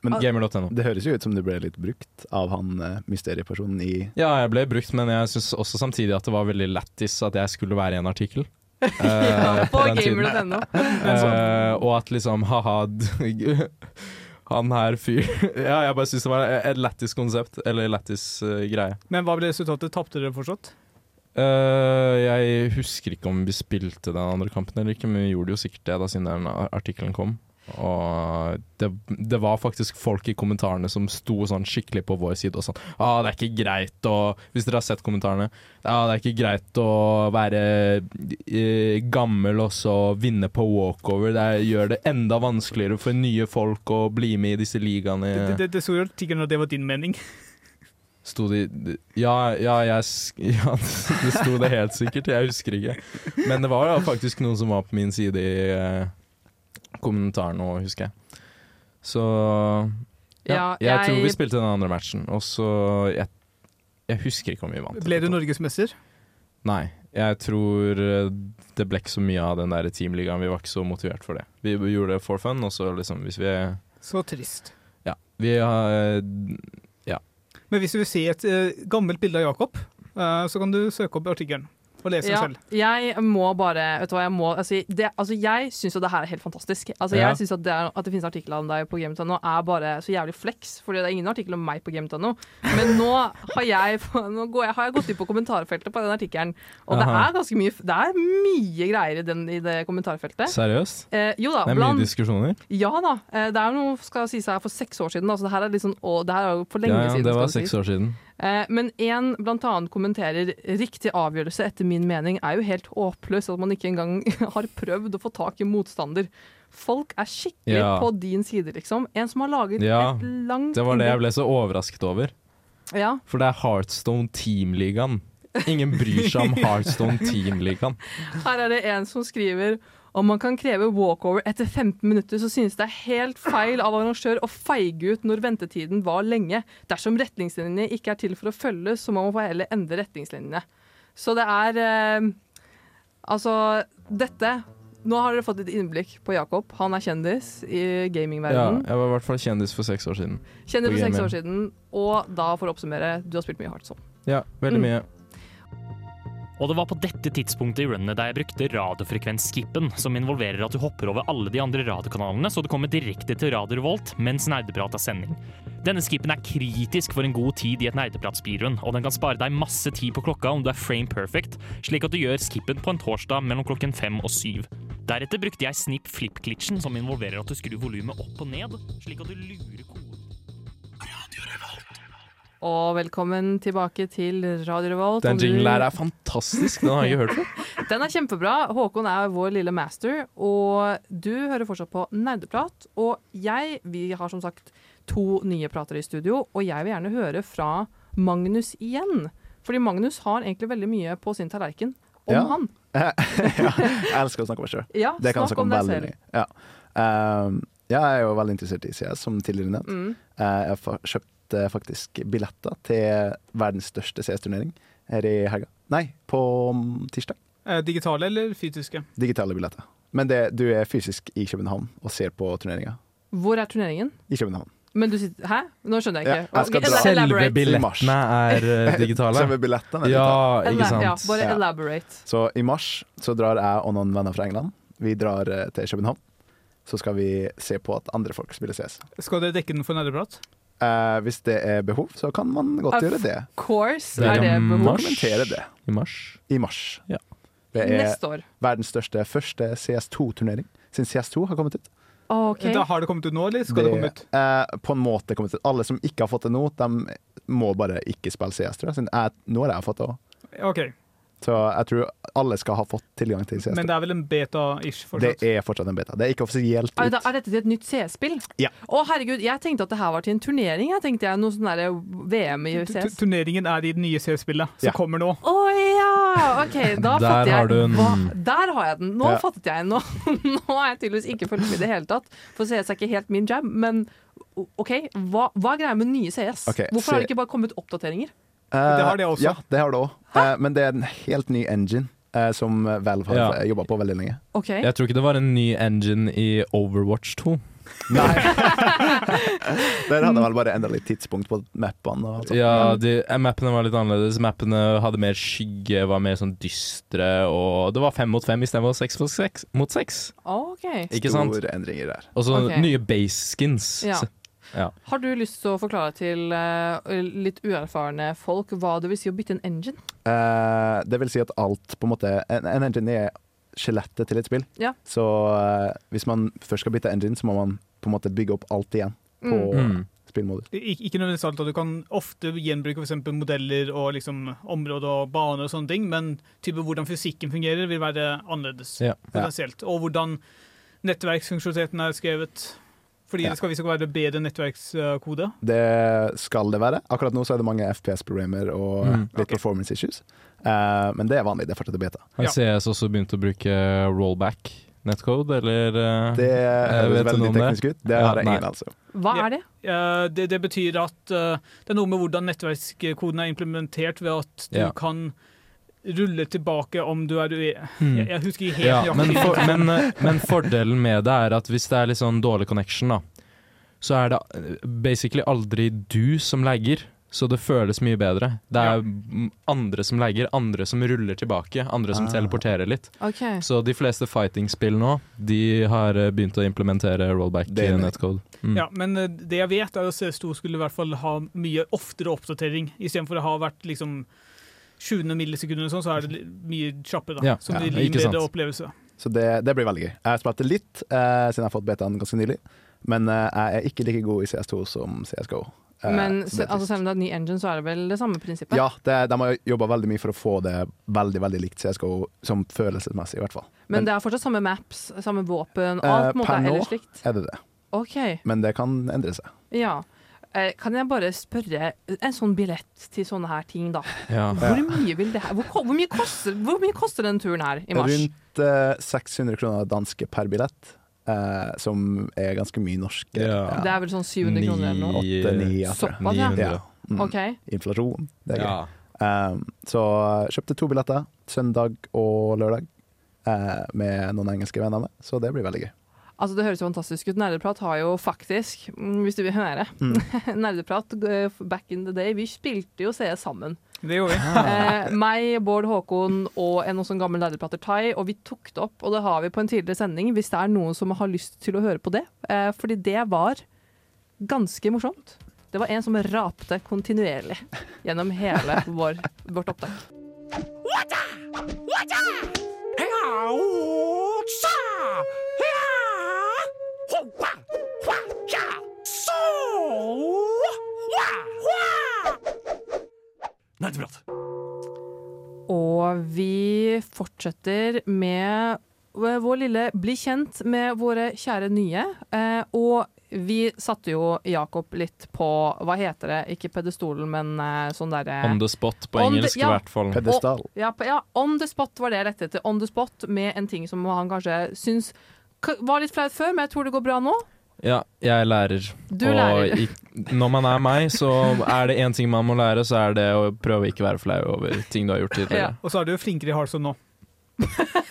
Men- Gamer.no. Det høres jo ut som du ble litt brukt av han eh, mysteriepersonen i Ja, jeg ble brukt, men jeg syns også samtidig at det var veldig lættis at jeg skulle være i en *laughs* artikkel. Eh, På den tiden. gamer.no. Eh, og at liksom ha-ha *laughs* d- Han her fyr *laughs* Ja, jeg bare syns det var et lættis konsept, eller lættis eh, greie. Men hva ble resultatet? Tapte dere fortsatt? Eh, jeg husker ikke om vi spilte den andre kampen eller ikke, men vi gjorde jo sikkert det da siden den ar- artikkelen kom. Og det, det var faktisk folk i kommentarene som sto sånn skikkelig på vår side og sånn ah, det er ikke greit å Hvis dere har sett kommentarene. Ja, det er ikke greit å være eh, gammel og så vinne på walkover. Det er, gjør det enda vanskeligere for nye folk å bli med i disse ligaene. Eh. Det, det, det sto jo i artikkelen at det var din mening. Sto de Ja, ja, jeg sk- *laughs* ja, det sto det helt sikkert. Jeg husker ikke. Men det var jo faktisk noen som var på min side i eh, kommentaren òg, husker jeg. Så ja, Ja, jeg, jeg- tror vi spilte den andre matchen, og så jeg, jeg husker ikke om vi vant. Ble du norgesmester? Nei. Jeg tror eh, det ble ikke så mye av den der teamligaen. Vi var ikke så motivert for det. Vi gjorde det for fun, og så liksom hvis vi *laughs* Så trist. Ja. Vi eh, har Men hvis du vil se et eh, gammelt bilde av Jakob, eh, så kan du søke opp artikkelen og lese den selv. Jeg må bare Vet du hva, jeg må altså, det, altså, jeg syns jo det her er helt fantastisk. Altså, Ja. Jeg synes at det, er, at det finnes artikler om deg på game.no, er bare så jævlig flex. Fordi det er ingen artikler om meg på game.no. Men nå har jeg, nå går jeg, har jeg gått inn på kommentarfeltet på den artikkelen, og det Aha. er ganske mye Det er mye greier i, den, i det kommentarfeltet. Seriøst? Eh, jo da, Det er mye blant diskusjoner. Ja da. Eh, det er jo noe skal sies her for seks år siden, da, så det her er litt sånn å, det her er jo for lenge Ja, ja, siden. det skal var det sies. seks år siden. Eh, Men en blant annet kommenterer riktig avgjørelse etter min mening er jo helt håpløs at man ikke engang *laughs* har prøvd å få tak i motstander. Folk er skikkelig Ja. på din side, liksom. En som har laget Ja, et langt Det var det jeg ble så overrasket over. ble ja. For det er Heartstone Team-ligaen. Ingen bryr seg *laughs* om Heartstone Team-ligaen. Her er det en som skriver om man kan kreve walkover etter 15 minutter, så synes det er helt feil av arrangør å feige ut når ventetiden var lenge. Dersom retningslinjene ikke er til for å følges, så må man heller endre retningslinjene. Så det er eh, Altså, dette Nå har dere fått et innblikk på Jakob. Han er kjendis i Ja, gamingverdenen. jeg var i hvert fall kjendis for seks år siden. Kjendis for på seks gaming. år siden, og da for å oppsummere, du har spilt mye hardt sånn. Ja, veldig Mm. mye. Og det var på dette tidspunktet i runnet da jeg brukte radiofrekvensskippen, som involverer at du hopper over alle de andre radiokanalene, så du kommer direkte til Radio Revolt mens Nerdeprat er sending. Denne skippen er kritisk for en god tid i et Nerdeprat-speedrun, og den kan spare deg masse tid på klokka om du er frame perfect, slik at du gjør skippen på en torsdag mellom klokken fem og syv. Deretter brukte jeg snip flip-glitchen, som involverer at du skrur volumet opp og ned, slik at du lurer koden. Og velkommen tilbake til Radio Revolt. Den Om du- jinglen her er fantastisk. Den har jeg ikke hørt før. Den er kjempebra. Håkon er vår lille master, og du hører fortsatt på Nerdeprat. Og jeg, vi har som sagt to nye pratere i studio, og jeg vil gjerne høre fra Magnus igjen. Fordi Magnus har egentlig veldig mye på sin tallerken om Ja. han. Jeg elsker å snakke om meg sjøl. Ja, Det kan snakk jeg snakke om om deg veldig selv. mye. Ja. Ehm, ja, jeg er jo veldig interessert i CS, som tidligere nevnt. Mm. Eh, jeg fa- kjøpte faktisk billetter til verdens største CS-turnering her i helga. Nei, på mm, tirsdag. Eh, Digitale eller fysiske? Digitale billetter. Men det, du er fysisk i København og ser på turneringa Hvor er turneringen? i København. Men du sitter Hæ? Nå skjønner jeg ikke. Ja, jeg skal Ok, dra. Selve elaborate. billettene *laughs* er eh, digitale. *laughs* Selve billettene. er digitale. Ja, ikke Ela- Ja, sant. bare Ja. elaborate. Så i mars så drar jeg og noen venner fra England. Vi drar eh, til København. Så skal vi se på at andre folk spiller CS. Skal dere dekke den for nerdeprat? Eh, hvis det er behov, så kan man godt Av- gjøre det. Course Det er er det om behov. mars. Dokumentere det I mars. i mars. Ja. Det er Neste år. verdens største første CS2-turnering siden CS2 har kommet ut. OK. Da har det kommet ut nå, eller skal det, komme ut? eh, på en måte kommet ut. Alle som ikke har fått det nå, de må bare ikke spille CS, tror jeg. Siden jeg nå har jeg fått det òg. OK, Så jeg tror alle skal ha fått tilgang til CS. men det er vel en beta-ish Det fortsatt? er fortsatt en beta. Det er ikke offisielt Er, det, ut. er dette til et nytt CS-spill? Ja. Å herregud, jeg tenkte at det her var til en turnering. Jeg tenkte jeg Noe sånn derre VM i Tu- CS. Turneringen er i det nye CS-spillet som Ja. kommer nå. Å ja! OK, da Der fatter jeg. har du den. Hva- Der har jeg den. Nå Ja. fattet jeg den. Nå, *laughs* nå har jeg tydeligvis ikke fulgt med i det hele tatt. For CS er ikke helt min jam. Men o- OK, hva, hva er greia med nye CS? Ok, Hvorfor har se- det ikke bare kommet oppdateringer? Eh, Det har det også. Ja, det har det også. Eh, men det er en helt ny engine eh, som Valve har Ja. jobbet jobba på veldig *laughs* lenge. OK. Jeg tror ikke det var en ny engine i Overwatch 2. Nei. *laughs* Der hadde jeg vel bare endra litt tidspunkt på mappene. Og sånt. Ja, de, eh, mappene var litt annerledes. Mappene hadde mer skygge, var mer sånn dystre, og det var fem mot fem istedenfor seks mot seks. Mot seks. OK. Ikke sant? Store endringer der. Og så Ok. nye base skins. Ja. Så- Har du lyst til å forklare til eh, litt uerfarne folk hva det vil si å bytte en engine? Eh, det vil si at alt på en måte En, en engine er skjelettet til et spill. Ja. Så eh, hvis man først skal bytte engine, så må man på en måte bygge opp alt igjen på Mm. spillmoder. Ik ikke nødvendigvis alt, og du kan ofte gjenbruke for eksempel modeller og liksom områder og baner og sånne ting, men type hvordan fysikken fungerer vil være annerledes Ja. potensielt. Og hvordan nettverksfunksjonaliteten er skrevet. Fordi Ja. det skal visstnok være bedre nettverkskode. Det skal det være. Akkurat nå så er det mange FPS-programmer og eh, Mm. litt performance issues. Eh, men det er vanlig. Det er fortsatt i beta. Har Ja. CS også begynt å bruke rollback netcode, eller eh, Det høres vet du noe veldig om det? teknisk ut. Det Ja, har jeg ingen altså. anelse nei. om. Hva Ja. er det? Eh, det, det betyr at eh, det er noe med hvordan nettverkskoden er implementert, ved at du Ja. kan rulle tilbake om du er ue... Jeg, Mm. jeg husker ikke helt Ja, men, nøyaktig. for, men, eh, men fordelen med det er at hvis det er litt sånn dårlig connection, da, så er det eh, basically aldri du som lagger. Så det føles mye bedre. Det er Ja. mm, andre som lagger, andre som ruller tilbake, andre som Ah. teleporterer litt. OK. Så de fleste fighting-spill nå, de har eh, begynt å implementere rollback Det er eh, enig. netcode. Mm. Ja, men eh, det jeg vet er at CS2 skulle i hvert fall ha mye oftere oppdatering. Istedenfor å ha vært liksom 20. millisekunder og sånn, så er det li- mye kjappere. da. Ja, som ja, gir en ikke sant. bedre opplevelse. Så det, det blir veldig gøy. Jeg spilte litt eh, siden jeg har fått betaen ganske nylig, men eh, jeg er ikke like god i CS2 som CSGO. Eh, Men så det se, er altså, trist. selv om det er en ny engine, så er det vel det samme prinsippet? Ja, det, de har jobba veldig mye for å få det veldig veldig likt CSGO, som følelsesmessig i hvert fall. Men Men- det er fortsatt samme maps, samme våpen, og alt Eh, måte per er nå- ellers likt. Er det det? OK, Men det kan endre seg. ja. Eh, Kan jeg bare spørre en sånn billett til sånne her ting, *laughs* da. Ja. Hvor mye vil det her Hvor, ko- hvor, mye, koster, hvor mye koster den turen her i mars? Rundt eh, 600 kroner danske per billett, eh, som er ganske mye norske. Ja. Det er vel sånn 700 kroner eller noe? Ni- Åtte, ni, ja, tror jeg. Såpass, ja. 900. Ja. Mm. OK. Inflasjon, det er gøy. Eh, Ja. Um, så kjøpte to billetter, søndag og lørdag. eh, med noen engelske venner med, så det blir veldig gøy. Altså, det høres jo fantastisk ut. Nerdeprat har jo faktisk, mm, hvis du vil høre *laughs* Nerdeprat eh, back in the day, vi spilte jo CS sammen. Det gjorde vi. Eh, meg, Bård Håkon og en også gammel nerdeprater Thai, og vi tok det opp. Og det har vi på en tidligere sending, hvis det er noen som har lyst til å høre på det. Eh, fordi det var ganske morsomt. Det var en som rapte kontinuerlig gjennom hele vår, vårt opptak. Nerdeprat. Og vi fortsetter med vår lille Bli kjent med våre kjære nye. Eh, og vi satte jo Jakob litt på Hva heter det? Ikke pedestolen, men eh, sånn derre On the spot på On the- engelsk, i ja. hvert fall. Pedestal. ja, på- ja, On the spot var det jeg lette etter. On the spot Med en ting som han kanskje syns k- var litt flaut før, men jeg tror det går bra nå. Ja, jeg er lærer. Du og lærer. i- når man er meg, så er det én ting man må lære, så er det å prøve å ikke være flau over ting du har gjort tidligere. Og så er du jo flinkere i Hardstone nå. Ja.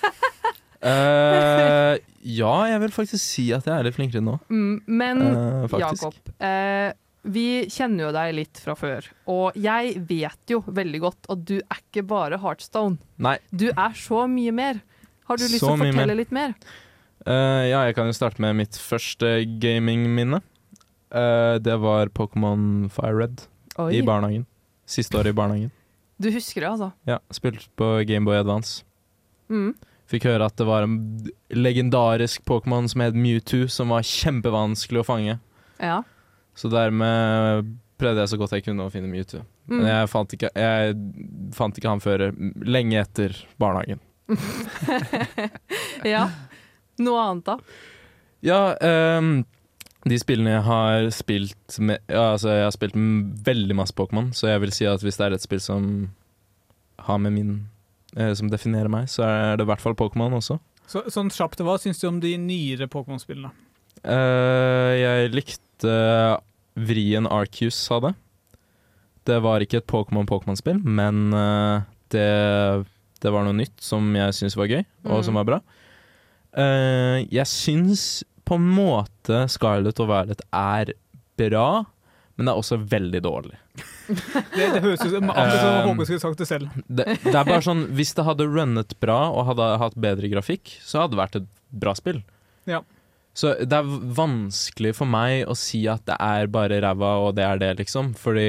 Eh, ja, jeg vil faktisk si at jeg er litt flinkere nå, Mm, men eh, faktisk. Jakob, eh, vi kjenner jo deg litt fra før, og jeg vet jo veldig godt at du er ikke bare Heartstone. Nei. Du er så mye mer. Har du lyst til Så å mye fortelle mer. litt mer? Eh, ja, jeg kan jo starte med mitt første gamingminne. Eh, det var Pokémon FireRed i barnehagen. Siste året i barnehagen. Du husker det, altså? Ja, Spilte på Gameboy Advance. Mm. Fikk høre at det var en legendarisk Pokémon som het Mewtwo, som var kjempevanskelig å fange. Ja. Så dermed prøvde jeg så godt jeg kunne å finne Mewtwo. Mm. Men jeg fant, ikke, jeg fant ikke han før mm, lenge etter barnehagen. ja. Noe annet, da? Ja, ehm, de spillene jeg har spilt med ja, altså Jeg har spilt m- veldig masse Pokémon, så jeg vil si at hvis det er et spill som har med min eh, Som definerer meg, så er det i hvert fall Pokémon også. Så, sånn kjapt, hva syns du om de nyere Pokémon-spillene? Eh, jeg likte vrien Arceus hadde. Det var ikke et Pokémon-Pokémon-spill, men eh, det, det var noe nytt som jeg syntes var gøy, og Mm. som var bra. Eh, jeg syns på en måte Scarlett og Violet er bra, men det er også veldig dårlig. Det, det høres ut som akkurat som Um, Håkon skulle sagt det selv. Det, det er bare sånn, Hvis det hadde runnet bra og hadde hatt bedre grafikk, så hadde det vært et bra spill. Ja. Så det er vanskelig for meg å si at det er bare ræva og det er det, liksom. Fordi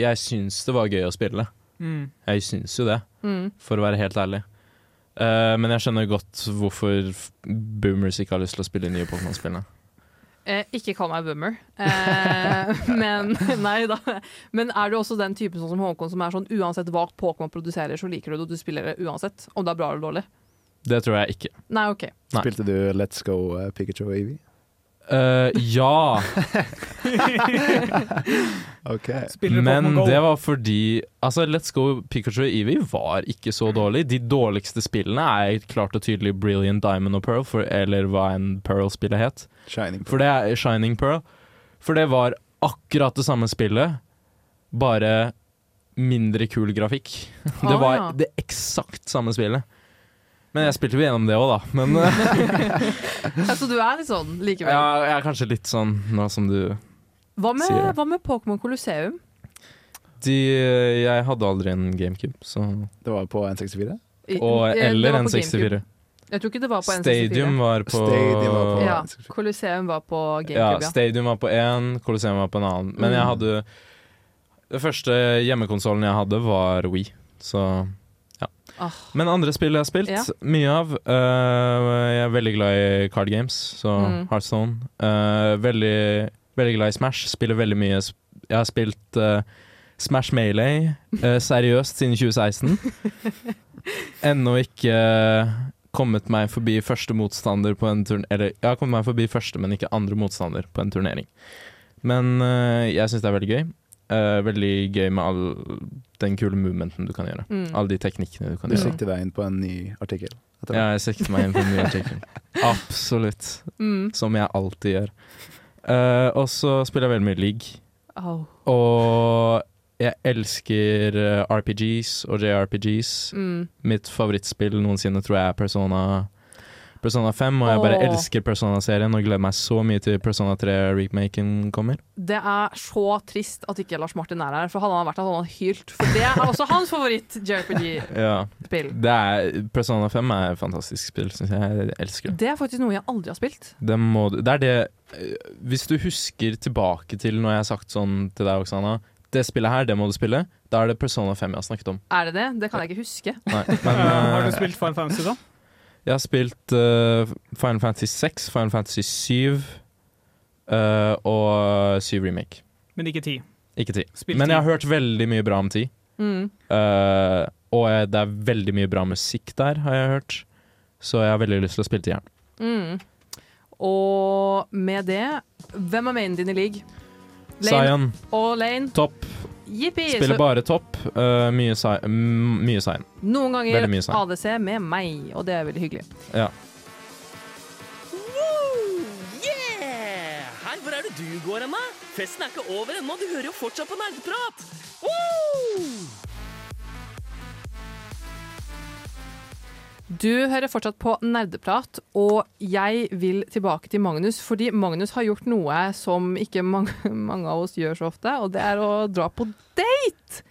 jeg syns det var gøy å spille. Mm. Jeg syns jo det, Mm. for å være helt ærlig. Eh, men jeg skjønner godt hvorfor f- boomers ikke har lyst til å spille de nye Pokémon-spillene. Eh, ikke kall meg boomer. Eh, *laughs* men nei da. Men er du også den typen sånn som Håkon som er sånn uansett hva Pokémon produserer, så liker du det, og du spiller det uansett? Om det er bra eller dårlig? Det tror jeg ikke. Nei, OK. Nei. Spilte du Let's Go eh, Pikachu og Eevee? Eh, ja! Okay. Spiller du Men Pokémon Go? det var fordi Altså, Let's Go Pikachu og Eevee var ikke så dårlig. De dårligste spillene er klart og tydelig Brilliant Diamond og Pearl, for, eller hva enn Pearl-spillet het. Shining. For det er Shining Pearl. For det var akkurat det samme spillet, bare mindre kul *laughs* grafikk. Det Ah, ja. var det eksakt samme spillet. Men jeg spilte jo gjennom det òg, da. Men *laughs* eh, Altså, du er litt sånn likevel. ja, jeg er kanskje litt sånn nå som du Hva med, Sier det. hva med Pokémon Colosseum? de, Jeg hadde aldri en GameCube, så Det var på N64? I- Og eh, det eller var en på GameCube. 64. Jeg tror ikke det var på N64. Stadium var på, Stadium var på- Ja, N64. Colosseum var på ja, GameCube, ja. Stadium var på én, Colosseum var på en annen. Men jeg Mm. hadde Den første hjemmekonsollen jeg hadde, var Wii. Så ja. Ah. Men andre spill jeg har spilt, Ja. mye av øh, Jeg er veldig glad i card games, så Mm. Heartstone. sånn. Eh, veldig, veldig glad i Smash. Spiller veldig mye sp- Jeg har spilt øh, Smash Melee *laughs* øh, seriøst siden 2016. Ennå ikke øh, kommet meg forbi første motstander på en turn... Eller, jeg har kommet meg forbi første, men ikke andre motstander på en turnering. Men øh, jeg syns det er veldig gøy. Eh, veldig gøy med all den kule movementen du kan gjøre. Mm. Alle de teknikkene du kan Du gjøre. sikter deg inn på en ny artikkel? etter Ja, jeg sikter meg inn på mye *laughs* artikkel. Absolutt. Mm. Som jeg alltid gjør. Eh, og så spiller jeg veldig mye league. Au. Og Jeg elsker eh, RPGs og JRPGs. Mm. Mitt favorittspill noensinne tror jeg er Persona, Persona 5, og jeg bare Åh. elsker Persona-serien og gleder meg så mye til Persona 3-remaken kommer. Det er så trist at ikke Lars Martin er her, for hadde han vært her, hadde han hylt. For det er også hans favoritt-JRPG-spill. Ja, det er, Persona 5 er et fantastisk spill, syns jeg. Jeg elsker det. Det er faktisk noe jeg aldri har spilt. Det, må, du- det er det eh, Hvis du husker tilbake til når jeg har sagt sånn til deg, Oksana Det spillet her, det må du spille. Da er det Persona 5 jeg har snakket om. Er det det? Det kan jeg ikke huske. *laughs* Nei, Eh, men har du eh, spilt Final Fantasy, da? Jeg har spilt eh, Final Fantasy 6, Final Fantasy 7 eh, og 7 Remake. Men ikke ti. Ikke 10. Spilt Men jeg har ti. hørt veldig mye bra om 10. Mm. eh, og jeg, det er veldig mye bra musikk der, har jeg hørt. Så jeg har veldig lyst til å spille tieren. Mm. Og med det Hvem er mainen din i league? Lane Zion, og Lane. topp. Jippi! Spiller Så bare topp. eh, mye Zion. mm, Mye Zion. noen ganger Veldig mye sang. ADC med meg, og det er veldig hyggelig. Ja. Yeah! Hei, hvor er det du går hen, da? Festen er ikke over ennå, du hører jo fortsatt på nerdeprat! Woo! Du hører fortsatt på Nerdeprat, og jeg vil tilbake til Magnus. Fordi Magnus har gjort noe som ikke mange, *laughs* mange av oss gjør så ofte, og det er å dra på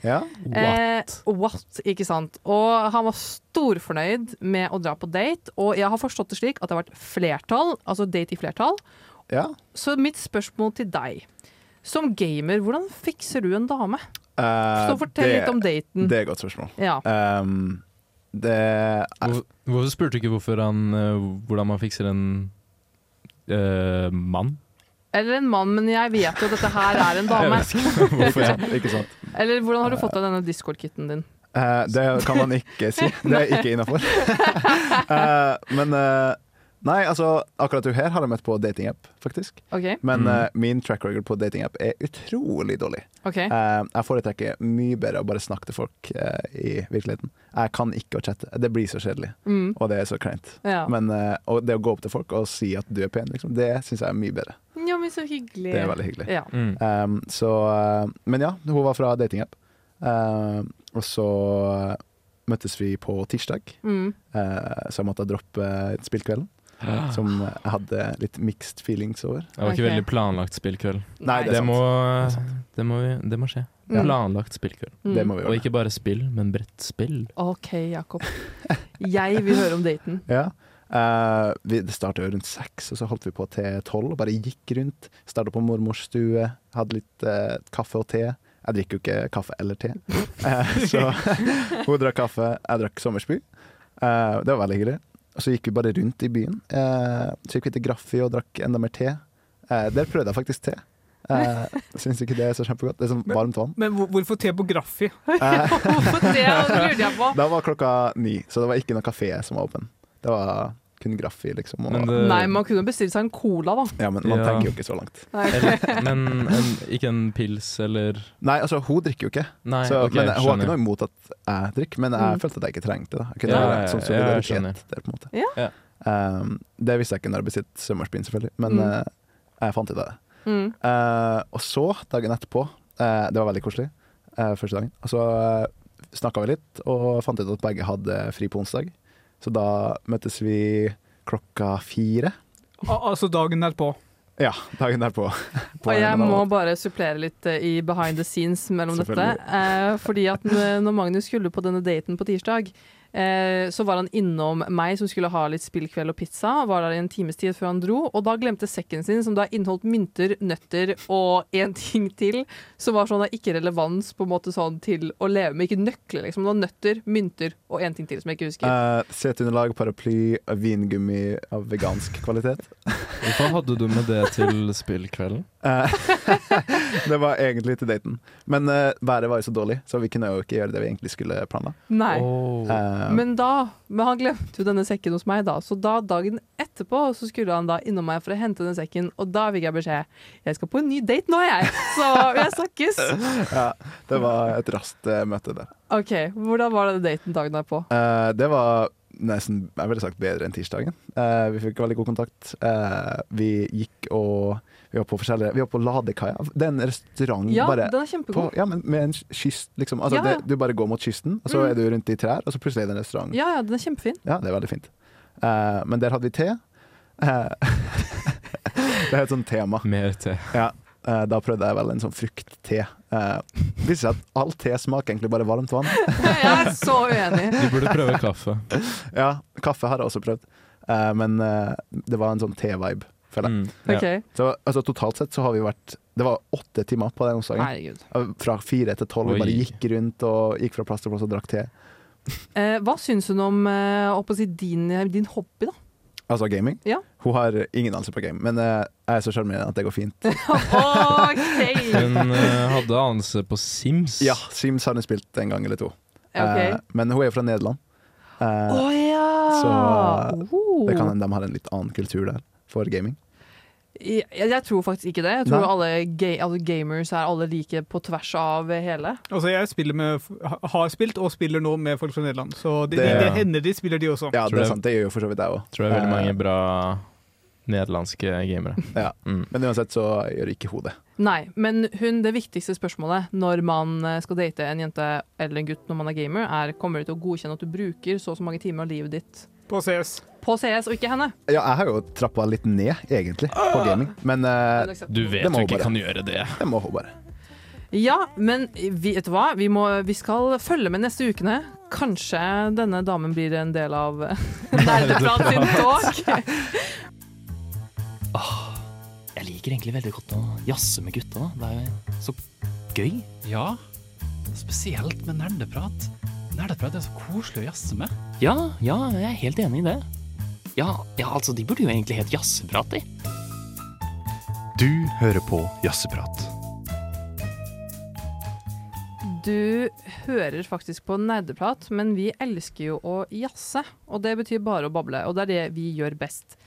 Ja. What? Eh, what, ikke sant? Og han var storfornøyd med å dra på date, og jeg har forstått det slik at det har vært flertall, altså date i flertall. ja. Så mitt spørsmål til deg, som gamer, hvordan fikser du en dame? Eh, Så fortell litt om daten. Det er et godt spørsmål. Ja. Um, det er, Hvor, hvorfor spurte du ikke hvorfor han, eh, hvordan man fikser en eh, mann? Eller en mann, men jeg vet jo at dette her *laughs* er en Jeg dame. vet ikke hvorfor jeg ikke sant? Eller hvordan har du fått deg denne Discord-kitten din? Eh, det kan man ikke si. Det er ikke innafor. men eh, Nei, altså, akkurat hun her har jeg møtt på datingapp, faktisk. Ok, Men Mm. eh, min track record på datingapp er utrolig dårlig. ok. Eh, jeg foretrekker mye bedre å bare snakke til folk eh, i virkeligheten. Jeg kan ikke å chatte. Det blir så kjedelig, Mm, og det er så kleint. ja. Men eh, og det å gå opp til folk og si at du er pen, liksom, det syns jeg er mye bedre. ja, men så hyggelig. Det er veldig hyggelig. Ja. Mm. Um, så, uh, men ja, hun var fra datingapp. Uh, og så uh, møttes vi på tirsdag, Mm. uh, så jeg måtte droppe spillkvelden. Ah. Som jeg hadde litt mixed feelings over. Det var ikke Ok. veldig planlagt spillkveld. Nei, Det sant. må, Det er det må, vi, det må skje. Ja. Planlagt spillkveld. Mm. Det må vi Og gjøre. ikke bare spill, men bredt spill. Ok, Jakob. Jeg vil høre om *laughs* daten. *laughs* Ja. Uh, vi, det starta rundt seks, og så holdt vi på til tolv. og Bare gikk rundt. Starta på mormors stue, hadde litt uh, kaffe og te. Jeg drikker jo ikke kaffe eller te, Eh, så *laughs* hun drakk kaffe, jeg drakk sommersby. Eh, det var veldig hyggelig. Og så gikk vi bare rundt i byen. Eh, så gikk vi til Graffi og drakk enda mer te. Eh, der prøvde jeg faktisk te. Uh, Syns ikke det er så kjempegodt. Det er sånn varmt *laughs* vann. Men hvor- hvorfor te på Graffi? Eh, Hvorfor det? Det lurte jeg på. da var klokka ni, så det var ikke noen kafé som var åpen. Det var kun Graffi, liksom. Og, Men det, Nei, man kunne bestille seg en cola, da. ja, men man Ja. tenker jo ikke så langt. eller, men en, ikke en pils eller Nei, altså hun drikker jo ikke. Nei, så, ok, men hun har ikke skjønner. noe imot at jeg drikker, men jeg Mm. følte at jeg ikke trengte det. Jeg kunne Ja, være ja, ja, sånn ja, jeg solidaritet der, på en måte. Ja. Ja. Um, det visste jeg ikke når jeg bestilte Summersbyen, selvfølgelig, men Mm. eh, jeg fant ut av det. Mm. Eh, og så, dagen etterpå, eh, det var veldig koselig, eh, første dagen, og så uh, snakka vi litt og fant ut at begge hadde fri på onsdag. Så da møttes vi klokka fire. Al altså dagen derpå. Ja, dagen derpå. *laughs* På Og jeg en eller må annen bare supplere litt eh, i behind the scenes mellom dette. Selvfølgelig. Eh, fordi at n- når Magnus skulle på denne daten på tirsdag, eh, så var han innom meg som skulle ha litt spillkveld og pizza. Var der i en times tid før han dro, og da glemte sekken sin, som da inneholdt mynter, nøtter og en ting til, som var sånn av ikke relevans på en måte sånn til å leve med. Ikke nøkler, liksom. Det var nøtter, mynter og en ting til som jeg ikke husker. Eh, Seteunderlag, paraply, vingummi av vegansk *laughs* kvalitet. Hvorfor hadde du med det til spillkvelden? Eh, *laughs* det var egentlig til daten. Men eh, været var jo så dårlig, så vi kunne jo ikke gjøre det vi egentlig skulle planla. Nei. Åh. Eh, Oh. Men da, men han glemte jo denne sekken hos meg da, så da dagen etterpå så skulle han da innom meg for å hente den sekken, og da fikk jeg beskjed, jeg skal på en ny date nå jeg, så jeg snakkes. *laughs* ja, det var et raskt eh, møte der. Ok, hvordan var denne daten dagen derpå? Eh, det var nesten jeg ville sagt bedre enn tirsdagen. Eh, vi fikk veldig god kontakt. Eh, vi gikk og Vi var på forskjellige Vi var på Ladekaia. Det er en restaurant Ja, Mm, bare den er på, kjempegod. ja, men med en kyst, liksom. Altså, Ja, ja. Det, du bare går mot kysten, og så Mm. er du rundt i trær, og så plutselig er det en restaurant. Ja, ja, den er kjempefin. *laughs* Ja, det er veldig fint. Eh, men der hadde vi te. Eh, *laughs* det er et sånt tema. Mer te. Eh, da prøvde jeg vel en sånn frukt-te. Eh, viser seg at all te smaker egentlig bare varmt vann. Jeg er så *laughs* uenig. Du burde prøve kaffe. Ja, kaffe har jeg også prøvd, Eh, men eh, det var en sånn te-vibe. føler jeg. Mm. Ok, Så altså, totalt sett så har vi vært Det var åtte timer på den onsdagen. herregud. Eh, Fra fire til tolv. Vi bare Oi. gikk rundt og gikk fra plass til plass og drakk te. Eh, hva syns hun om eh, å på si, din, din hobby, *laughs* da? Altså gaming. Ja. Hun har ingen anelse på game, men eh, jeg er så sjarmerende at det går fint. OK! Hun eh, hadde anelse på Sims. Ja, Sims har hun spilt en gang eller to. Eh, men hun er jo fra Nederland, Å Eh, ja! Oh. det kan hende de har en litt annen kultur der for gaming. jeg, jeg tror faktisk ikke det. Jeg tror Nei. alle, ga alle gamers er alle like på tvers av hele. Altså, jeg spiller med, har spilt og spiller nå med folk fra Nederland, så det, det, Det- hender de spiller, de også. Ja, Tror det er jeg- sant, det gjør jo for så vidt jeg Eh, òg. Tror jeg er veldig mange bra nederlandske gamere. Ja. Mm. Men uansett så gjør ikke hun det. Nei, men hun, det viktigste spørsmålet når man eh, skal date en jente eller en gutt når man er gamer, er kommer de til å godkjenne at du bruker så og så mange timer av livet ditt På CS. på CS og ikke henne? Ja, jeg har jo trappa litt ned, egentlig, på gaming. Men eh, Du vet Det må du ikke bare. kan gjøre det. det må hun bare. Ja, men vi, vet du hva? Vi, må, vi skal følge med neste ukene. Kanskje denne damen blir en del av *laughs* eh, Nerdeprat sin talk. Jeg liker egentlig veldig godt å jazze med gutta. da. Det er jo så gøy. Ja, spesielt med nerdeprat. Nerdeprat er så koselig å jazze med. Ja, ja, jeg er helt enig i det. Ja, ja altså, de burde jo egentlig hett jazzeprat, de. Du hører på Jazzeprat. Du hører faktisk på Nerdeprat, men vi elsker jo å jazze. Og det betyr bare å bable, og det er det vi gjør best.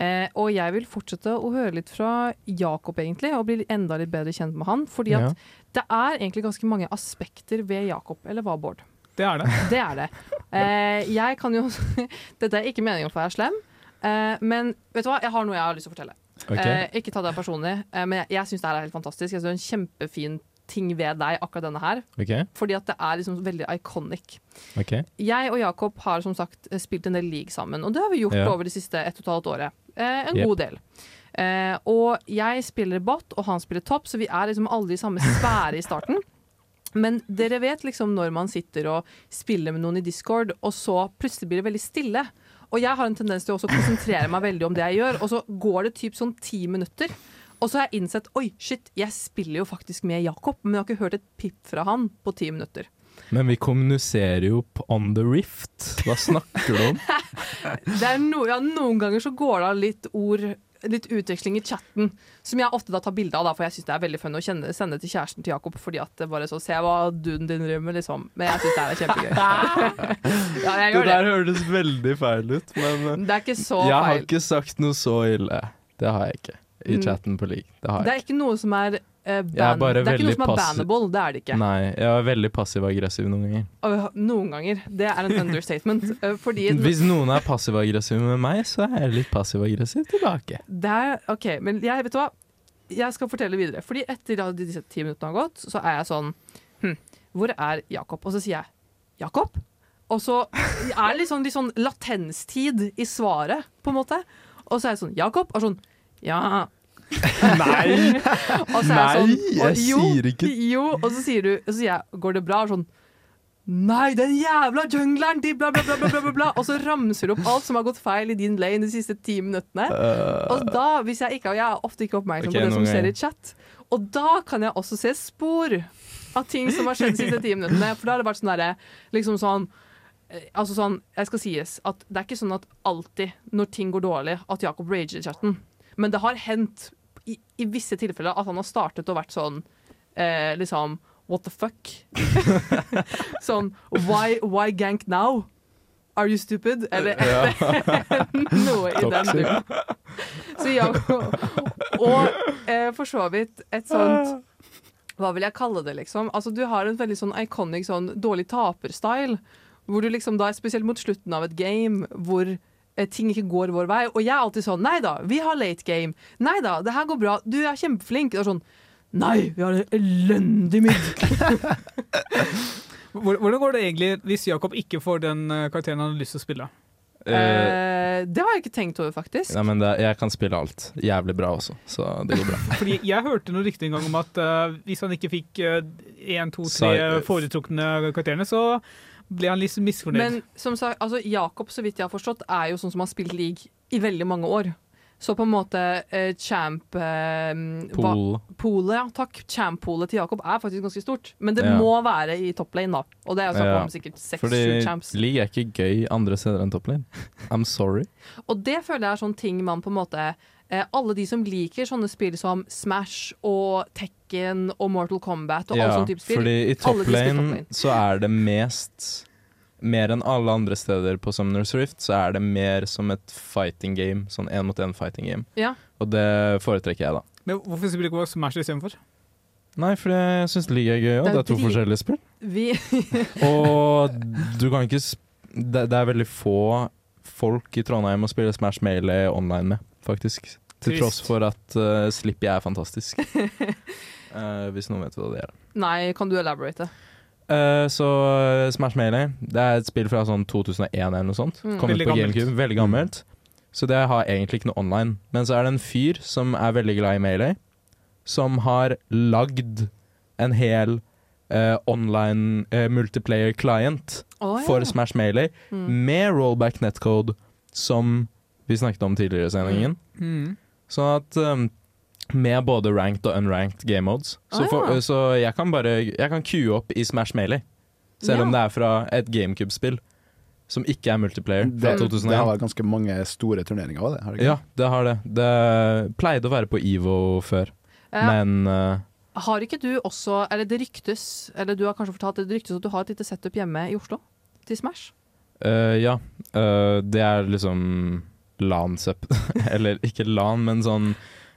Eh, og jeg vil fortsette å høre litt fra Jakob, egentlig, og bli enda litt bedre kjent med han. Fordi at Ja. det er egentlig ganske mange aspekter ved Jakob, eller hva, Bård? Det er det. Det er det. Eh, jeg kan jo *laughs* Dette er ikke meningen for å være slem, eh, men vet du hva? Jeg har noe jeg har lyst til å fortelle. Ok? Eh, ikke ta det personlig, eh, men jeg, jeg syns det her er helt fantastisk. Jeg synes det er en kjempefin ting ved deg, akkurat denne her. ok, Fordi at det er liksom veldig iconic. ok Jeg og Jakob har som sagt eh, spilt en del league sammen, og det har vi gjort Ja. over det siste ett og et halvt året. Eh, en Yep. god del. Eh, og jeg spiller bot, og han spiller topp, så vi er liksom alle i samme sfære i starten. Men dere vet liksom når man sitter og spiller med noen i Discord, og så plutselig blir det veldig stille. Og jeg har en tendens til å også konsentrere meg veldig om det jeg gjør, og så går det typ sånn ti minutter. Og så har jeg innsett oi, shit, jeg spiller jo faktisk med Jakob, men jeg har ikke hørt et pip fra han på ti minutter. Men vi kommuniserer jo på on the rift. Hva snakker du om? Det er no, ja, noen ganger så går det av litt ord Litt utveksling i chatten, som jeg ofte da tar bilde av, da, for jeg syns det er veldig fun å kjenne, sende til kjæresten til Jakob. Fordi at det bare så Se hva duden din rømmer, liksom. Men jeg syns det her er kjempegøy. *laughs* ja, jeg gjør det. hørtes veldig feil ut, *laughs* men eh, Det er ikke så Jeg har feil. ikke sagt noe så ille. Det har jeg ikke. I Mm. chatten på league. Det har Det jeg er ikke. ikke noe som er eh, Jeg er ban bare Det er ikke veldig noe som er passiv. bannable, det er det ikke. Nei, jeg er veldig passiv-aggressiv noen ganger. Øh, noen ganger. Det *laughs* er en understatement. øh, fordi Hvis noen er passiv-aggressiv med meg, så er jeg litt passiv-aggressiv tilbake. Det er, ok, men jeg, vet du hva? Jeg skal fortelle videre. Fordi etter at disse ti minuttene har gått, så er jeg sånn hm, Hvor er Jakob? Og så sier jeg Jakob? Og så er det litt sånn, litt sånn latenstid i svaret, på en måte. Og så er jeg sånn Jakob? Og sånn Ja. Nei! Og så er jeg sånn, Nei, jeg og, jo, sier ikke- Jo, og så sier du Og så sier jeg Går det bra? Og sånn Nei, den jævla jungleren! De bla, bla, bla, bla, bla, bla, bla. Og så ramser du opp alt som har gått feil i din lane de siste ti minuttene. Og da, hvis jeg ikke Jeg er ofte ikke oppmerksom Eh. på Ok, det noen som skjer i ganger. chat. Og da kan jeg også se spor av ting som har skjedd de siste ti minuttene. For da har det vært sånn derre Liksom sånn eh, Altså sånn, jeg skal sies at Det er ikke sånn at alltid når ting går dårlig, at Jakob rager i chatten. Men det har hendt i, i visse tilfeller at han har startet og vært sånn eh, Liksom What the fuck? sånn why, why gank now? Are you stupid? Eller *laughs* noe i den duren. Så Jakob Og eh, for så vidt et sånt hva vil jeg kalle det, liksom? Altså, du har en veldig sånn iconic sånn dårlig taper-style. Hvor du liksom da, spesielt mot slutten av et game, hvor eh, ting ikke går vår vei. Og jeg er alltid sånn Nei da, vi har late game. Nei da, det her går bra. Du er kjempeflink. Det er sånn Nei, vi har en elendig midd. Hvor- Hvordan går det egentlig hvis Jakob ikke får den eh, karakteren han har lyst til å spille? Eh, Eh, det har jeg ikke tenkt over, faktisk. nei, men det, jeg kan spille alt. Jævlig bra også, så det går bra. Fordi jeg hørte noe rykte en gang om at eh, hvis han ikke fikk én, to, Sa- tre foretrukne karakterene, så ble han litt misfornøyd. Men som sagt, altså, Jakob, så vidt jeg har forstått, er jo sånn som har spilt league i veldig mange år. Så på en måte eh, champ eh, hva- Pool. Polet, ja, takk. Champ-polet til Jakob er faktisk ganske stort. Men det Ja. må være i top lane, da. Og det er jo snakk Ja. om sikkert Fordi seks-sju champs. league er ikke gøy andre steder enn topplane. *laughs* I'm sorry. Og det føler jeg er sånn ting man på en måte eh, Alle de som liker sånne spill som Smash og Tekken og Mortal Kombat og alle Ja, sånne type spill fordi alle i de spiller top topplane lane. så er det mest Mer enn alle andre steder på Summoners Rift, så er det mer som et fighting game. Sånn én mot én fighting game. Ja. Og det foretrekker jeg, da. Men hvorfor spiller du ikke Smash istedenfor? Nei, for jeg syns league er gøy òg. Det er Det er to drit- forskjellige spill. Vi, *laughs* Og du kan ikke sp det, det er veldig få folk i Trondheim å spille Smash Melee online med, faktisk. Til Trist. tross for at uh, Slippy *laughs* er fantastisk. Eh, hvis noen vet hva det er. nei, kan du elaborate? Eh, så eh, Smash Melee Det er et spill fra sånn 2001 eller noe sånt. Mm. Kommer Veldig på gammelt. GameCube. Veldig gammelt. Så det har egentlig ikke noe online. Men så er det en fyr som er veldig glad i Melee, som har lagd en hel eh, online eh, multiplayer client Å, ja. for Smash Melee Mm. med rollback netcode, som vi snakket om tidligere i sendingen. Sånn at um, med både ranked og unranked game modes. Så, Ah, for, ja. så jeg kan bare Jeg kan queue opp i Smash Melee, selv om Ja. det er fra et GameCube-spill som ikke er multiplayer, fra *laughs* Det, det har 2001. vært ganske mange store turneringer òg, det. Har det ikke? ja, det har det. Det pleide å være på EVO før, Eh, men uh, Har ikke du også, eller det ryktes, eller du har kanskje fortalt det, det ryktes at du har et lite setup hjemme i Oslo til Smash? Eh, ja. Eh, det er liksom LAN-sepp *laughs* Eller ikke LAN, men sånn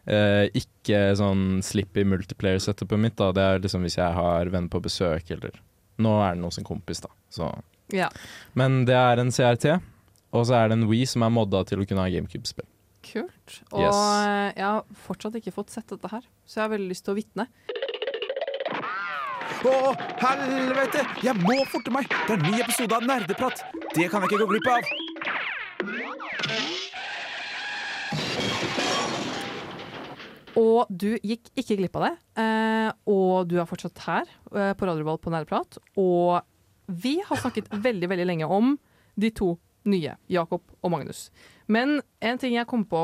eh, Ikke sånn slippy multiplayer-setupet mitt, da. Det er liksom hvis jeg har venner på besøk, eller Nå er det noe som kompis, da. Så. Ja. Men det er en CRT, og så er det en Wii som er modda til å kunne ha GameCube-spill. Kult. Og Yes. eh, jeg har fortsatt ikke fått sett dette her, så jeg har veldig lyst til å vitne. Å, helvete! Jeg må forte meg! Det er en ny episode av Nerdeprat! Det kan jeg ikke gå glipp av! Og du gikk ikke glipp av det. Eh, og du er fortsatt her eh, på Radiorvoll på Nærprat. Og vi har snakket veldig, veldig lenge om de to nye, Jakob og Magnus. Men en ting jeg kom på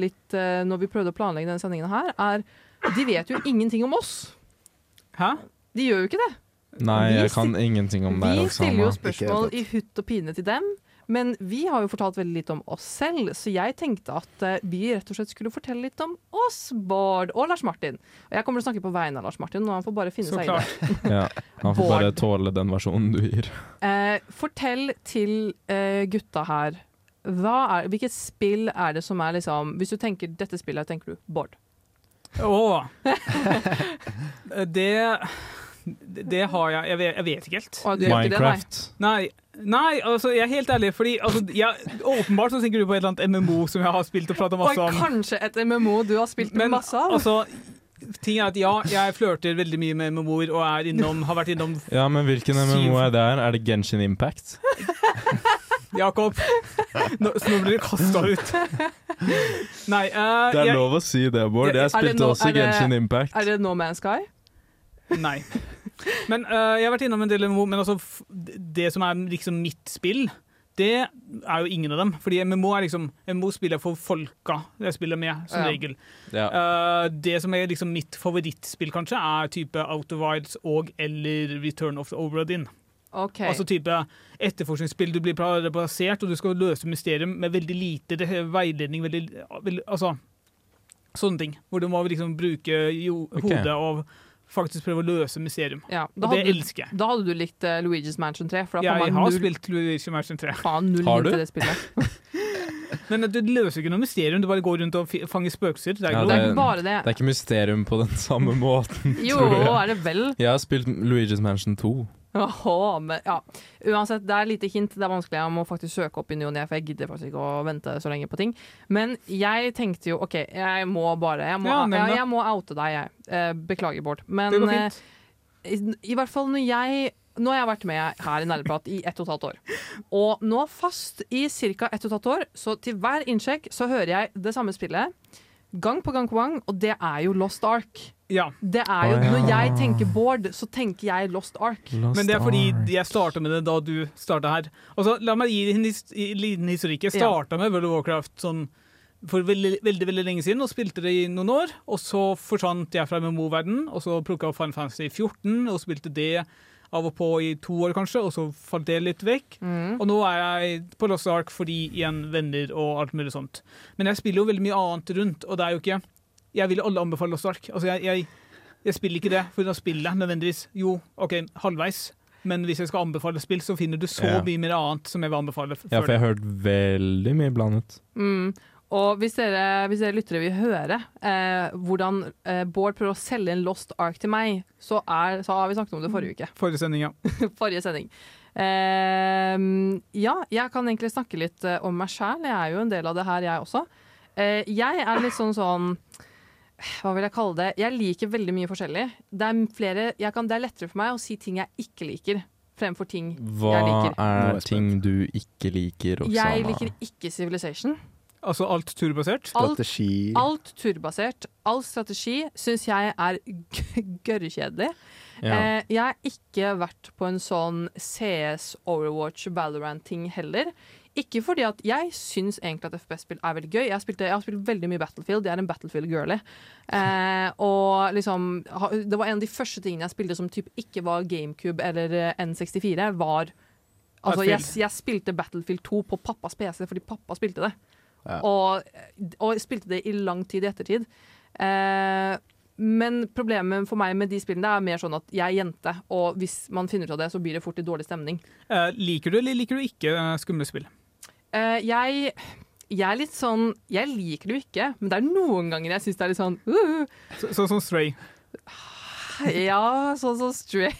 litt eh, når vi prøvde å planlegge denne sendingen her, er de vet jo ingenting om oss. Hæ? De gjør jo ikke det. Nei, Vi jeg kan ingenting om deg, Vi stiller jo Oksana. spørsmål i hutt og pine til dem. Men vi har jo fortalt veldig litt om oss selv, så jeg tenkte at eh, vi rett og slett skulle fortelle litt om oss, Bård og Lars Martin. Og jeg kommer til å snakke på vegne av Lars Martin, og han får bare finne Så seg i det. klart. Ja, han får bare Bård. tåle den versjonen du gir. Eh, fortell til eh, gutta her. Hva er, hvilket spill er det som er liksom Hvis du tenker dette spillet, tenker du Bård. Åh. det Det har jeg Jeg vet, jeg vet ikke helt. Og du gjør ikke det, nei. Minecraft. Nei, nei, altså jeg er helt ærlig, fordi altså, jeg, åpenbart så tenker du på et eller annet MMO som jeg har spilt og prata Og masse om. kanskje et MMO du har spilt Men masse av. altså, ting er at ja, jeg flørter veldig mye med MMO-er og er innom, har vært innom Ja, men hvilken MMO er det her? Er det Genshin Impact? Jakob. Nå, så nå blir du kasta ut. Nei, eh, Det er jeg, lov å si det, Bård. Er Jeg det spilte no- også er det- Genshin Impact. er det No Man's Sky? nei. Men eh, jeg har vært innom en del MMO, men altså, f- det som er liksom mitt spill, det er jo ingen av dem. Fordi MMO er liksom MMO spiller jeg for folka jeg spiller med, som Ja. regel. Ja. Eh, det som er liksom mitt favorittspill, kanskje, er type Outer Wilds og eller Return of the Obradin. OK. Altså type etterforskningsspill. Du blir pla- plassert, og du skal løse mysterium med veldig lite det- veiledning. Veldig, veldig, altså sånne ting. Hvor du må liksom bruke jo, Ok. hodet og faktisk prøve å løse mysterium. ja, da, Og det hadde du, elsker jeg. da hadde du likt eh, Luigi's Mansion 3, for da får Jeg man har null, spilt Luigi Mansion 3. faen null Har inn du? til det spillet. Men du løser ikke noe mysterium, du bare går rundt og fi- fanger spøkelser. Det er Ja, Det ikke lov. er ikke bare det. Det er ikke mysterium på den *laughs* samme måten, Jo, tror jeg. er det vel? Jeg har spilt Luigi's Mansion 2. Å, Åhå, men ja. Uansett, det er lite hint. Det er vanskelig. Jeg må faktisk søke opp i ny og ne, for jeg gidder faktisk ikke å vente så lenge på ting. Men jeg tenkte jo OK, jeg må bare Jeg må, Ja, nevn jeg, det. jeg må oute deg, jeg. Eh, Beklager, Bård. Men Det går fint. eh, I, I hvert fall når jeg nå har jeg vært med her i Nerdeprat i ett og et halvt år. Og nå fast i ca. ett og et halvt år, så til hver innsjekk så hører jeg det samme spillet gang på gang på gang, og det er jo Lost Ark. Ja. Det er jo, Å, ja. Når jeg tenker Bård, så tenker jeg Lost Ark. Men det er fordi jeg starta med det da du starta her. Altså, la meg gi en his- i- liten historikk. Jeg starta med World of Warcraft sånn for veldig, veldig veldig lenge siden og spilte det i noen år. Og så forsvant jeg fra MMO-verdenen, og så plukka jeg opp Final Fantasy 14 og spilte det av og på i to år, kanskje, og så falt det litt vekk. Og nå er jeg på Lost Ark fordi igjen venner og alt mulig sånt. Men jeg spiller jo veldig mye annet rundt, og det er jo ikke Jeg vil alle anbefale Lost Ark. Altså, jeg, jeg jeg spiller ikke det for å spille nødvendigvis. Jo, OK, halvveis. Men hvis jeg skal anbefale spill, så finner du så Ja. mye mer annet som jeg vil anbefale f- Ja, før for jeg har hørt veldig mye blandet. Mm. Og hvis dere, hvis dere lyttere vil høre eh, hvordan eh, Bård prøver å selge en Lost Ark til meg, så, er, så har vi snakket om det forrige uke. forrige sending. Ja. *laughs* forrige sending. Eh, ja, jeg kan egentlig snakke litt eh, om meg sjæl. Jeg er jo en del av det her, jeg også. Eh, jeg er litt sånn sånn Hva vil jeg kalle det? Jeg liker veldig mye forskjellig. Det er, flere, jeg kan, det er lettere for meg å si ting jeg ikke liker, fremfor ting Hva jeg liker. er ting du ikke liker, Jeg Oksana? liker ikke Civilization. Altså alt turbasert? Alt- Alt turbasert, all strategi, syns jeg er g- gørrkjedelig. Eh, Ja. jeg har ikke vært på en sånn CS, Overwatch, Valorant-ting heller. Ikke fordi at jeg syns egentlig at FPS-spill er veldig gøy. Jeg har, spilt, jeg har spilt veldig mye Battlefield. Jeg er en Battlefield-girlie. Eh, og liksom ha- Det var en av de første tingene jeg spilte som typ ikke var GameCube eller eh, N64, var Altså, jeg, Battlefield. jeg spilte Battlefield 2 på pappas PC fordi pappa spilte det. Og, eh, og spilte det i lang tid i ettertid. Eh, men problemet for meg med de spillene er mer sånn at jeg er jente, og hvis man finner ut av det, så blir det fort litt dårlig stemning. Eh, liker du eller liker du ikke eh, skumle spill? Eh, jeg, jeg er litt sånn Jeg liker det jo ikke, men det er noen ganger jeg syns det er litt sånn uh, Så- Sånn som Stray. Ja, sånn som Stray.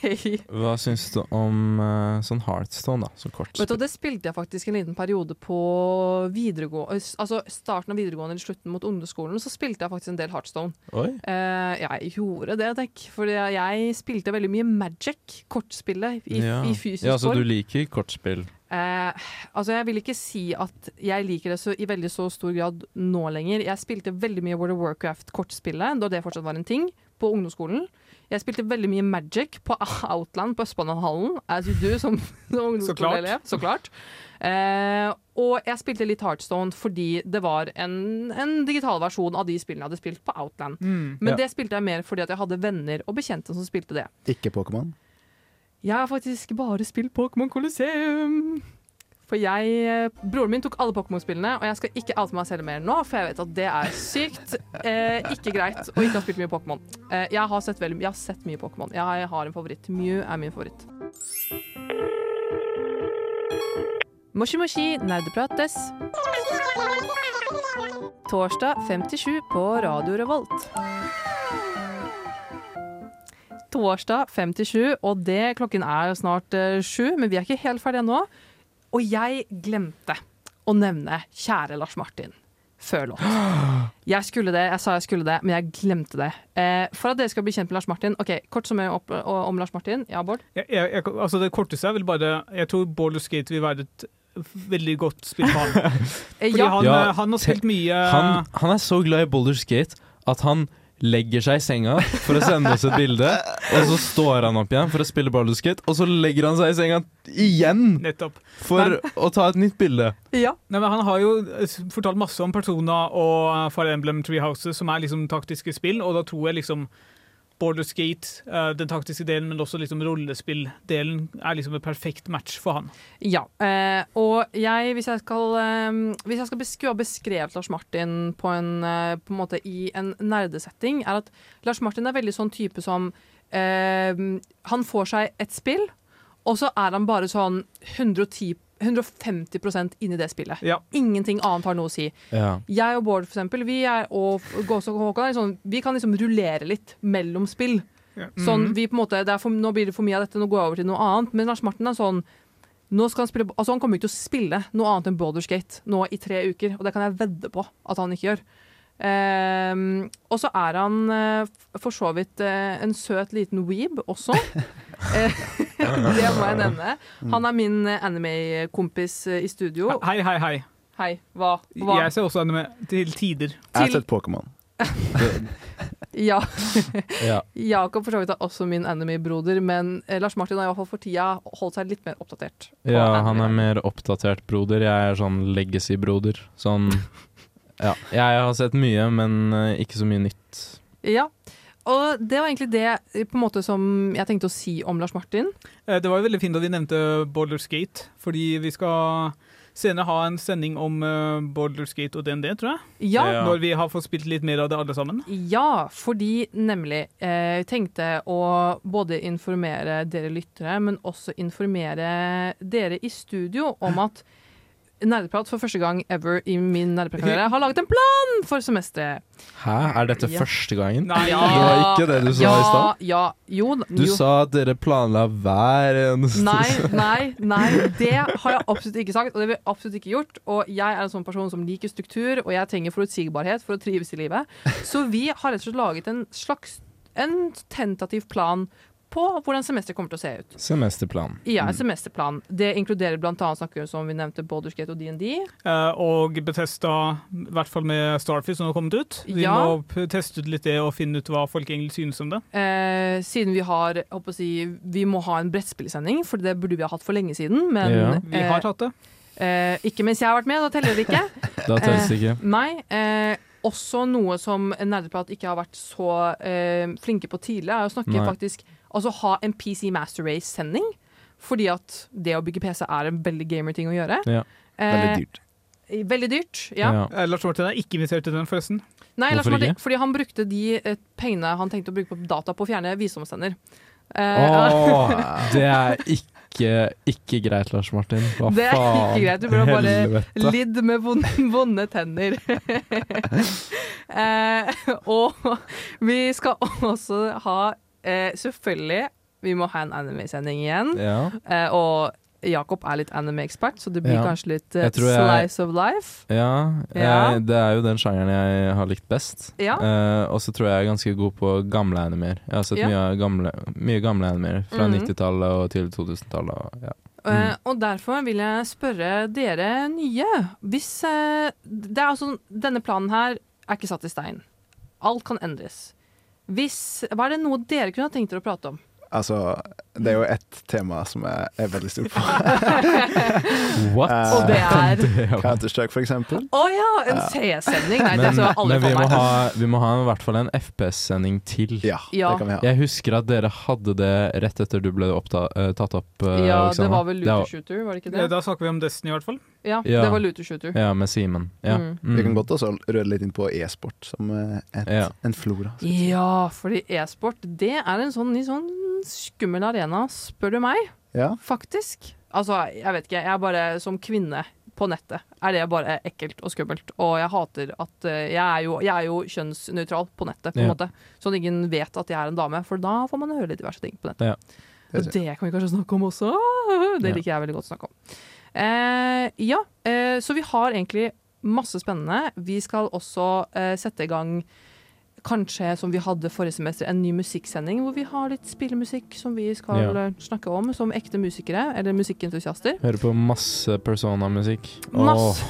Hva syns du om eh, sånn Heartstone, da? Så kort. Vet du, Det spilte jeg faktisk en liten periode på videregående Altså starten av videregående eller slutten mot ungdomsskolen. Så spilte jeg faktisk en del Heartstone. Oi. Eh, jeg gjorde det, tenk. For jeg spilte veldig mye Magic, kortspillet, i, ja. i fysisk ja, så form. du liker kortspill? Eh, altså Jeg vil ikke si at jeg liker det så, i veldig så stor grad nå lenger. Jeg spilte veldig mye World of Warcraft-kortspillet da det fortsatt var en ting, på ungdomsskolen. Jeg spilte veldig mye Magic på *laughs* Outland på Østbanehallen, as you do som, som ungdomsskoleelev. Så klart. Eh, og jeg spilte litt Heartstone fordi det var en, en digital versjon av de spillene jeg hadde spilt på Outland. Men Ja. det spilte jeg mer fordi at jeg hadde venner og bekjente som spilte det. Ikke Pokémon. Jeg har faktisk bare spilt Pokémon Colosseum. For jeg, eh, Broren min tok alle Pokémon-spillene, og jeg skal ikke oute meg selv mer nå, for jeg vet at det er sykt eh, ikke greit å ikke ha spilt mye Pokémon. Eh, jeg, har sett veldig- jeg har sett mye Pokémon. Jeg har en favoritt. Mew er min favoritt. Moshi Moshi nerdeprat dess. Torsdag 57 på Radio Revolt. Torsdag 57, og det klokken er snart eh, sju, men vi er ikke helt ferdige nå. Og jeg glemte å nevne kjære Lars Martin før låt. Jeg skulle det, jeg sa jeg skulle det, men jeg glemte det. Eh, for at dere skal bli kjent med Lars Martin, ok, kort summering opp eh, om Lars Martin. Ja, Bård? Jeg, jeg, jeg, altså det korteste er vel bare Jeg tror Baldur's Gate vil være et veldig godt spill for han. Eh, Fordi ja. han, Ja, eh, han har te- spilt mye Han, han er så glad i Boulders Gate at han legger seg i senga for å sende oss et bilde, og så står han opp igjen for å spille Boulders Gate, og så legger han seg i senga igjen Nettopp. for å ta et nytt bilde. Ja. Nei, men han har jo eh, fortalt masse om Persona og eh, Fire Emblem Tree Houses, som er liksom taktiske spill, og da tror jeg liksom Borders Gate, eh, den taktiske delen, men også liksom rollespilldelen, er liksom en perfekt match for han. Ja. Eh, og jeg, hvis jeg skal, eh, hvis jeg skal besk skulle ha beskrevet Lars Martin på en, eh, på en måte i en nerdesetting, er at Lars Martin er veldig sånn type som eh, Han får seg et spill, og så er han bare sånn 110 150 inni det spillet. Ja. Ingenting annet har noe å si. Ja. Jeg og sånn, Bård for eksempel, vi, er, og Gås og Håkon er liksom, vi kan liksom rullere litt mellom spill. Mhm. Sånn, vi på en måte, det er for, nå blir det for mye av dette, nå går jeg over til noe annet. Men Lars Martin er sånn nå skal han, spille, altså han kommer ikke til å spille noe annet enn Baldur's Gate nå i tre uker, og det kan jeg vedde på at han ikke gjør. Ehm, og så er han eh, f- for så vidt eh, en søt liten weeb også. Eh, *laughs* det må jeg nevne. Han er min eh, anime-kompis eh, i studio. Hei, hei, hei. Hei, hva? hva? Jeg ser også anime til tider. Jeg har sett Pokémon. Ja. Ja. Jakob for så vidt er også min anime-broder, men eh, Lars Martin har i hvert fall for tida holdt seg litt mer oppdatert. på Ja, han anime. er mer oppdatert broder. Jeg er sånn legacy-broder. Sånn Ja. Jeg har sett mye, men eh, ikke så mye nytt. Ja, og det var egentlig det eh, på en måte som jeg tenkte å si om Lars Martin. Eh, Det var jo veldig fint at vi nevnte Baldur's Gate, fordi vi skal senere ha en sending om eh, Baldur's Gate og DND, tror jeg. Ja, Når vi har fått spilt litt mer av det alle sammen. ja fordi nemlig eh, tenkte å både informere dere lyttere, men også informere dere i studio om at Nerdeprat for første gang ever i min nerdepratkarriere har laget en plan for semesteret. Hæ, er dette Ja. første gangen? Nei, Ja. Det var ikke det du sa ja, i stad? Ja, jo, da- Du jo. sa at dere planla hver eneste Nei, nei, nei. Det har jeg absolutt ikke sagt, og det vil jeg absolutt ikke gjort. Og jeg er en sånn person som liker struktur, og jeg trenger forutsigbarhet for å trives i livet. Så vi har rett og slett laget en slags en tentativ plan på hvordan semesteret kommer til å se ut. *laughs* Semesterplan. Ja, Mm. en semesterplan. Det inkluderer bl.a. snakker vi om, som vi nevnte, Baldur's Gate og DND. Eh, Og Bethesda, i hvert fall med Starfish som har kommet ut. Vi Ja. må p- teste ut litt det og finne ut hva folk egentlig synes om det. Eh, siden vi har jeg håper å si, Vi må ha en brettspillsending, for det burde vi ha hatt for lenge siden. Men Ja. Vi eh, har tatt det. eh, ikke mens jeg har vært med, da teller det ikke. Da telles det ikke. Nei. Eh, også noe som Nerdeprat ikke har vært så eh, flinke på tidlig, er å snakke Nei. faktisk Altså ha en PC Master Race-sending. Fordi at det å bygge PC er en veldig gamer-ting å gjøre. Ja. Veldig dyrt. Eh, veldig dyrt, ja. Ja. Eh, Lars Martin er ikke invitert til den, forresten. Nei, Lars Hvorfor Martin, ikke? fordi han brukte de eh, pengene han tenkte å bruke på data på å fjerne visdomstenner. Eh, Åh, det er ikke, ikke greit, Lars Martin. Hva Det er ikke faen? greit, du burde bare Helvete. Lidd med vond- *laughs* vonde tenner. eh, og vi skal også ha eh, Selvfølgelig, vi må ha en anime-sending igjen. Ja. Eh, og Jakob er litt anime-ekspert, så det blir Ja. kanskje litt eh, Jeg tror jeg- slice of life. Ja, Ja. jeg, det er jo den sjangeren jeg har likt best. Ja. Eh, og så tror jeg jeg er ganske god på gamle animer. Jeg har sett Ja. mye, av gamle, mye gamle animer fra Mhm. 90-tallet og til 2000-tallet. og- Ja. Eh, og derfor vil jeg spørre dere nye. Hvis eh, Det er altså Denne planen her er ikke satt i stein. Alt kan endres. Hvis, hva er det noe dere kunne ha tenkt dere å prate om? Altså, det er jo ett tema som jeg er veldig stor på. What? *laughs* Eh, Og det er Counter-Strike, for eksempel. Å ja, en CS-sending. Nei, det Men, så jeg aldri men vi, for må meg. ha, vi må ha i hvert fall en FPS-sending til. Ja, Ja. det kan vi ha. Jeg husker at dere hadde det rett etter du ble oppta, eh, tatt opp, eh, Ja, det Oksana. var vel Det var- Looter Shooter, var det ikke Eh, det? Da snakker vi om Destiny, i hvert fall. Ja, Ja. det var Looter Shooter. Ja, med Simen. Ja. Mm. Vi kan godt også røre litt inn på e-sport som eh, et, Ja. en flora. Ja, fordi e-sport, det er en sånn, en sånn skummel arena, spør du meg, Ja, faktisk. Altså, jeg vet ikke, jeg er bare som kvinne på nettet, er det bare ekkelt og skummelt. Og jeg hater at eh, jeg er jo, jeg er jo kjønnsnøytral på nettet, på en Ja. måte. Sånn at ingen vet at jeg er en dame, for da får man høre litt diverse ting på nettet. det Og ser jeg. det kan vi kanskje snakke om også. Det Ja. liker jeg veldig godt å snakke om. Eh, ja, eh, så vi har egentlig masse spennende. Vi skal også eh, sette i gang Kanskje som vi hadde forrige semester, en ny musikksending hvor vi har litt spillemusikk som vi skal Ja. eh, snakke om som ekte musikere, eller musikkentusiaster. Hører på masse Persona-musikk. Masse, Åh,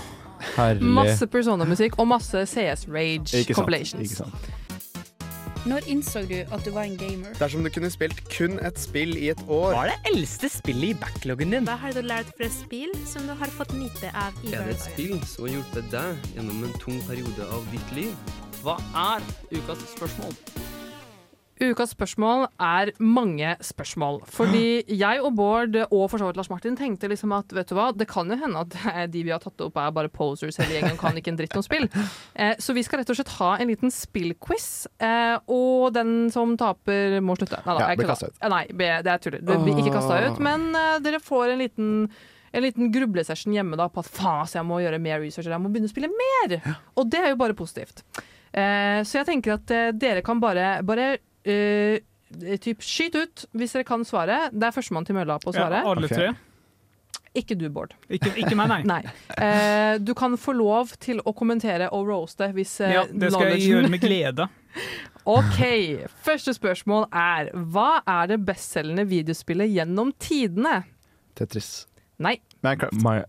herlig. masse Persona-musikk og masse CS Rage Ikke sant. compilations. Ikke sant. Når innså du at du var en gamer? Dersom du kunne spilt kun et spill i et år Hva er det eldste spillet i backloggen din? Hva har du lært fra spill som du har fått nytte av i Er det et spill som har hjulpet deg gjennom en tung periode av ditt liv? Hva er ukas spørsmål? Ukas spørsmål er mange spørsmål. Fordi jeg og Bård og for så vidt Lars Martin tenkte liksom at vet du hva, det kan jo hende at *laughs* det er de vi har tatt opp er bare posers hele gjengen og kan ikke en dritt om spill. Eh, så vi skal rett og slett ha en liten spillquiz. Eh, og den som taper, må slutte. Nei da, Ja, jeg blir kødda. kastet ut. Eh, Nei, be- det er tuller. Det blir ikke kasta ut. Men eh, dere får en liten en liten grublesession hjemme da på at faen, ass, jeg må gjøre mer research, eller jeg må begynne å spille mer. Og det er jo bare positivt. Eh, så jeg tenker at eh, dere kan bare, bare eh, eh, typ, skyt ut hvis dere kan svare. Det er førstemann til mølla på å svare. Ja, alle tre. Ikke du, Bård. Ikke, ikke meg, *laughs* nei. Eh, du kan få lov til å kommentere og roaste hvis eh, Ja, det skal jeg knowledgen- gjøre med glede. OK. Første spørsmål er Hva er det bestselgende videospillet gjennom tidene? Tetris. Nei. Minecraft.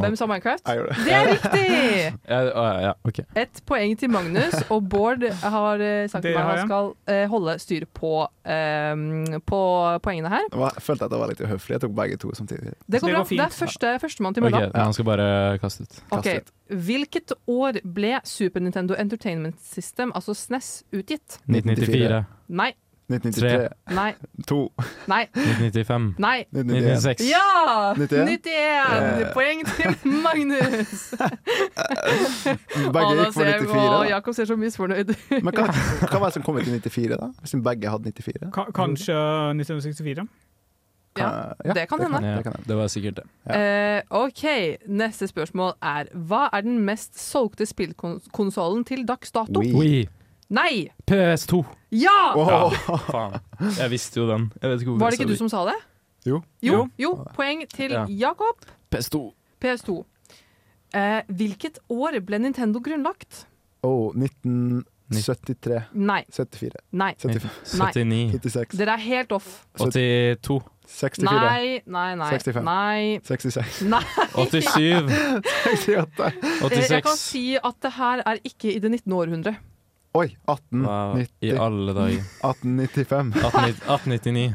Hvem sa Minecraft? Jeg gjorde det. Det er riktig! Ja, å, ja, ok. Ett poeng til Magnus, og Bård har eh, sagt Det til meg har at han jeg. skal eh, holde styr på, eh, på poengene her. Det var- Jeg følte at det var litt uhøflig. Jeg tok begge to samtidig. Det går bra. Det er første, førstemann til Ok, mølla. men han skal bare kaste ut. Ok, Hvilket år ble Super Nintendo Entertainment System, altså SNES, utgitt? 1994. Nei. 1993. Nei. To. Nei. 1995. Nei. 1996. Ja! 91. 91! Eh. Poeng *laughs* til Magnus. Begge Ada gikk for ser- 94. og da. Jakob ser så misfornøyd ut. Men hva, hva var det som kom ut i 94, da? Hvis begge hadde 94? Ka- Kanskje 1964? Ja, det kan hende. Ja, det var sikkert det. Eh, OK, neste spørsmål er Hva er den mest solgte spillkonsollen til dags dato? Wii. Nei! PS2. Ja! Ja, faen. Jeg visste jo den. Jeg vet ikke hvorfor Var det ikke du som sa det? Jo. Jo, jo poeng til Ja. Jakob. PS2. PS2. Eh, hvilket år ble Nintendo grunnlagt? Oh, 1973. Nei. 74. Nei. 75. Nei. 76. Dere er helt off. 82. 64. Nei, nei, nei. 65. Nei. 66. nei. 87. 68. Eh, Jeg kan si at det her er ikke i det 19. århundret. Oi, 18. Wow, 90. I alle dager. 1895. *laughs*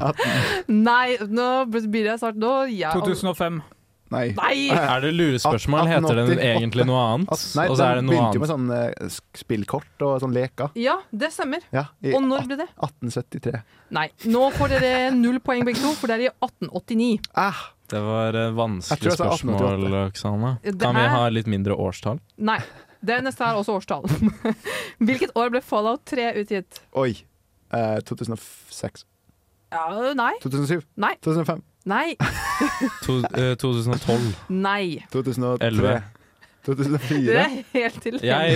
1899. 18. Nei, nå blir jeg snart nå, ja. 2005. Nei. Nei! Er det lurespørsmål? Heter den 1888. egentlig noe annet? Nei, Og så er det den noe begynte jo med annet. sånn eh, sk- spillkort og sånn leker. Ja, det stemmer. Ja, i Og når ble det? 1873. Nei. Nå får dere null poeng begge to, for det er i 1889. Ah, Det var et Jeg tror vanskelig jeg sa spørsmål, 1888. Oksane. Det Kan vi er- ha litt mindre årstall? Nei. Det neste er også årstall. *laughs* Hvilket år ble Fallout 3 utgitt? Oi. Eh, 2006. Ja, nei. 2007. Nei. 2005. Nei. To, eh, 2012. Nei. 2003. 11. 2004. Dere er helt til Jeg,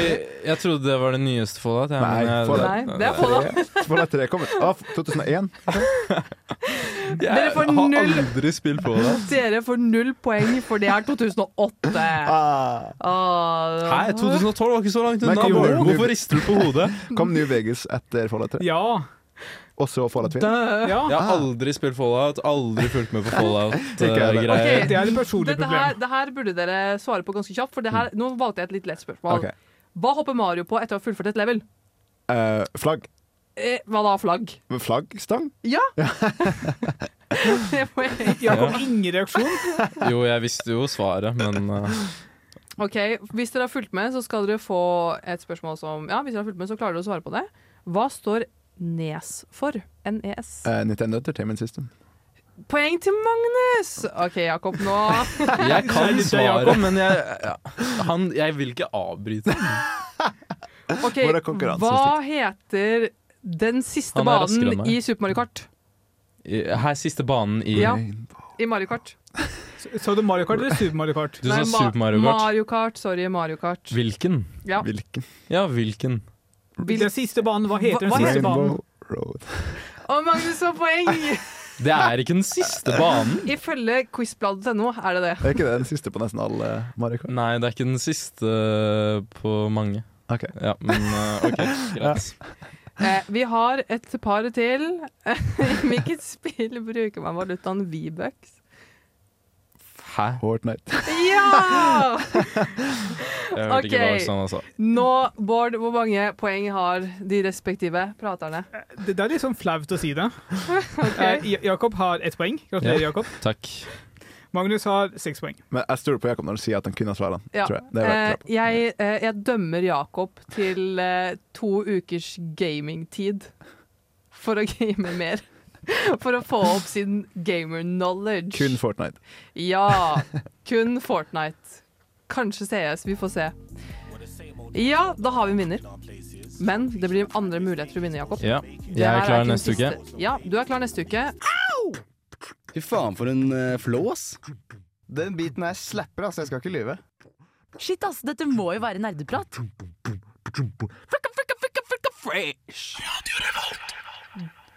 jeg trodde det var det nyeste Fallout. jeg, Nei, men jeg- Fallout Nei, det er Fallout. Tre. Fallout 3 kommer ah, 2001. Dere får null. aldri spilt Fallout. Dere får null poeng, for det er 2008. Ah. Nei, 2012 var ikke så langt unna. kom Bård. New- Hvorfor rister du på hodet? Kom New Vegas etter Fallout 3? Ja. Og så Fallout 4? Jeg har aldri spilt Fallout, aldri fulgt med på Ah. *laughs* Ikke jeg heller. Fallout-greier. Ok, det er et personlig Dette her, det her burde dere svare på ganske kjapt, for det her, nå valgte jeg et litt lett spørsmål. Ok. Hva hopper Mario på etter å ha fullført et level? Eh, flagg. Eh, hva da, flagg? *laughs* Flaggstang? Ja! Jakob, ingen reaksjon. Jo, jeg visste jo svaret, men uh, Ok, Hvis dere har fulgt med, så skal dere få et spørsmål som Ja, hvis dere har fulgt med, så klarer dere å svare på det. Hva står NES for? NES. Eh, Nintendo Entertainment System. Poeng til Magnus! OK, Jakob, nå Jeg *laughs* kan Det er svaret, Jakob. men jeg, han, jeg vil ikke avbryte. Ok, Hvor er konkurransen, Hva heter den siste Han er raskere enn banen meg. i Super Mario Kart? Her er siste banen i Ja, i Mario Kart. Så du Mario Kart eller Super Mario Kart? Du sa Nei, Ma- Super Mario Kart. Mario Kart, sorry, Mario Kart. Hvilken? Ja. Ja, hvilken? Den siste banen, hva heter Hva- den hva siste heter- banen? Og Magnus får poeng! Det er ikke den siste banen. Ifølge quizbladet.no er det det. Er ikke det den siste på nesten alle Mario Kart? Nei, det er ikke den siste eh, på mange. Ok. Ja, men uh, ok, greit. Eh, vi har et par til. *laughs* Hvilket spill bruker man valutaen V-bucks? Hæ? Fortnite. Ja! Jeg hørte ikke hva Ok. Oksana sa. Nå, Bård, hvor mange poeng har de respektive praterne? Det, det er litt sånn flaut å si *laughs* det. Eh, Ja- Jakob har ett poeng. Gratulerer, Ja. Jakob. Takk. Magnus har seks poeng. Men jeg stoler på Jakob når han sier at han kunne ha svarene. Ja. Tror jeg. Det er veldig eh, jeg, eh, jeg dømmer Jakob til eh, to ukers gamingtid for å *laughs* game mer. For å få opp sin gamer-knowledge. bra. Kun Fortnite. Ja, kun Fortnite. Kanskje CS, vi får se. Ja, da har vi en vinner. Men det blir andre muligheter å vinne, Jakob. Ja, Det jeg er her klar ikke den neste uke. siste. Ja, du er klar neste uke. Fy faen, for en uh, flow, ass. Den biten her slapper, ass. Jeg skal ikke lyve. Shit, ass, dette må jo være nerdeprat. Fresh.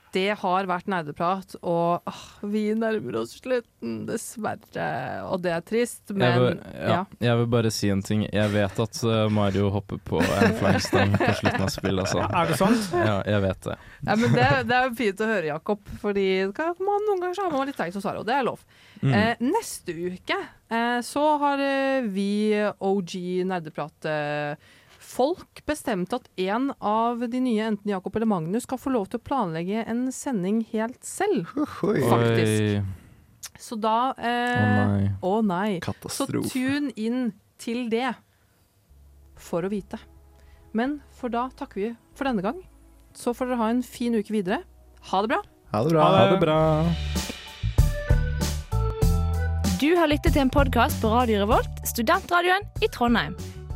Det har vært nerdeprat, og åh, vi nærmer oss slutten, dessverre. Og det er trist, jeg, men vil, ja, jeg vil bare si en ting. Jeg vet at eh, Mario hopper på en flankstang på slutten av spillet. Altså. Er det sant? Ja, jeg vet det. Ja, men det, det er jo fint å høre, Jakob. Fordi kan man noen ganger så har man litt teit hos Sara, og det er lov. Mm. Eh, neste uke eh, så har eh, vi OG Nerdeprat-folk bestemt at en av de nye, enten Jakob eller Magnus, skal få lov til å planlegge en sending helt selv. Faktisk. Oi. Så da eh, Å nei. Så Katastrofe. tune inn til det for å vite. Men for da takker vi for denne gang. Så får dere ha en fin uke videre. Ha det bra. Ha det bra. Ha eh, det bra. Du har lyttet til en podkast på Radio Revolt, studentradioen i Trondheim.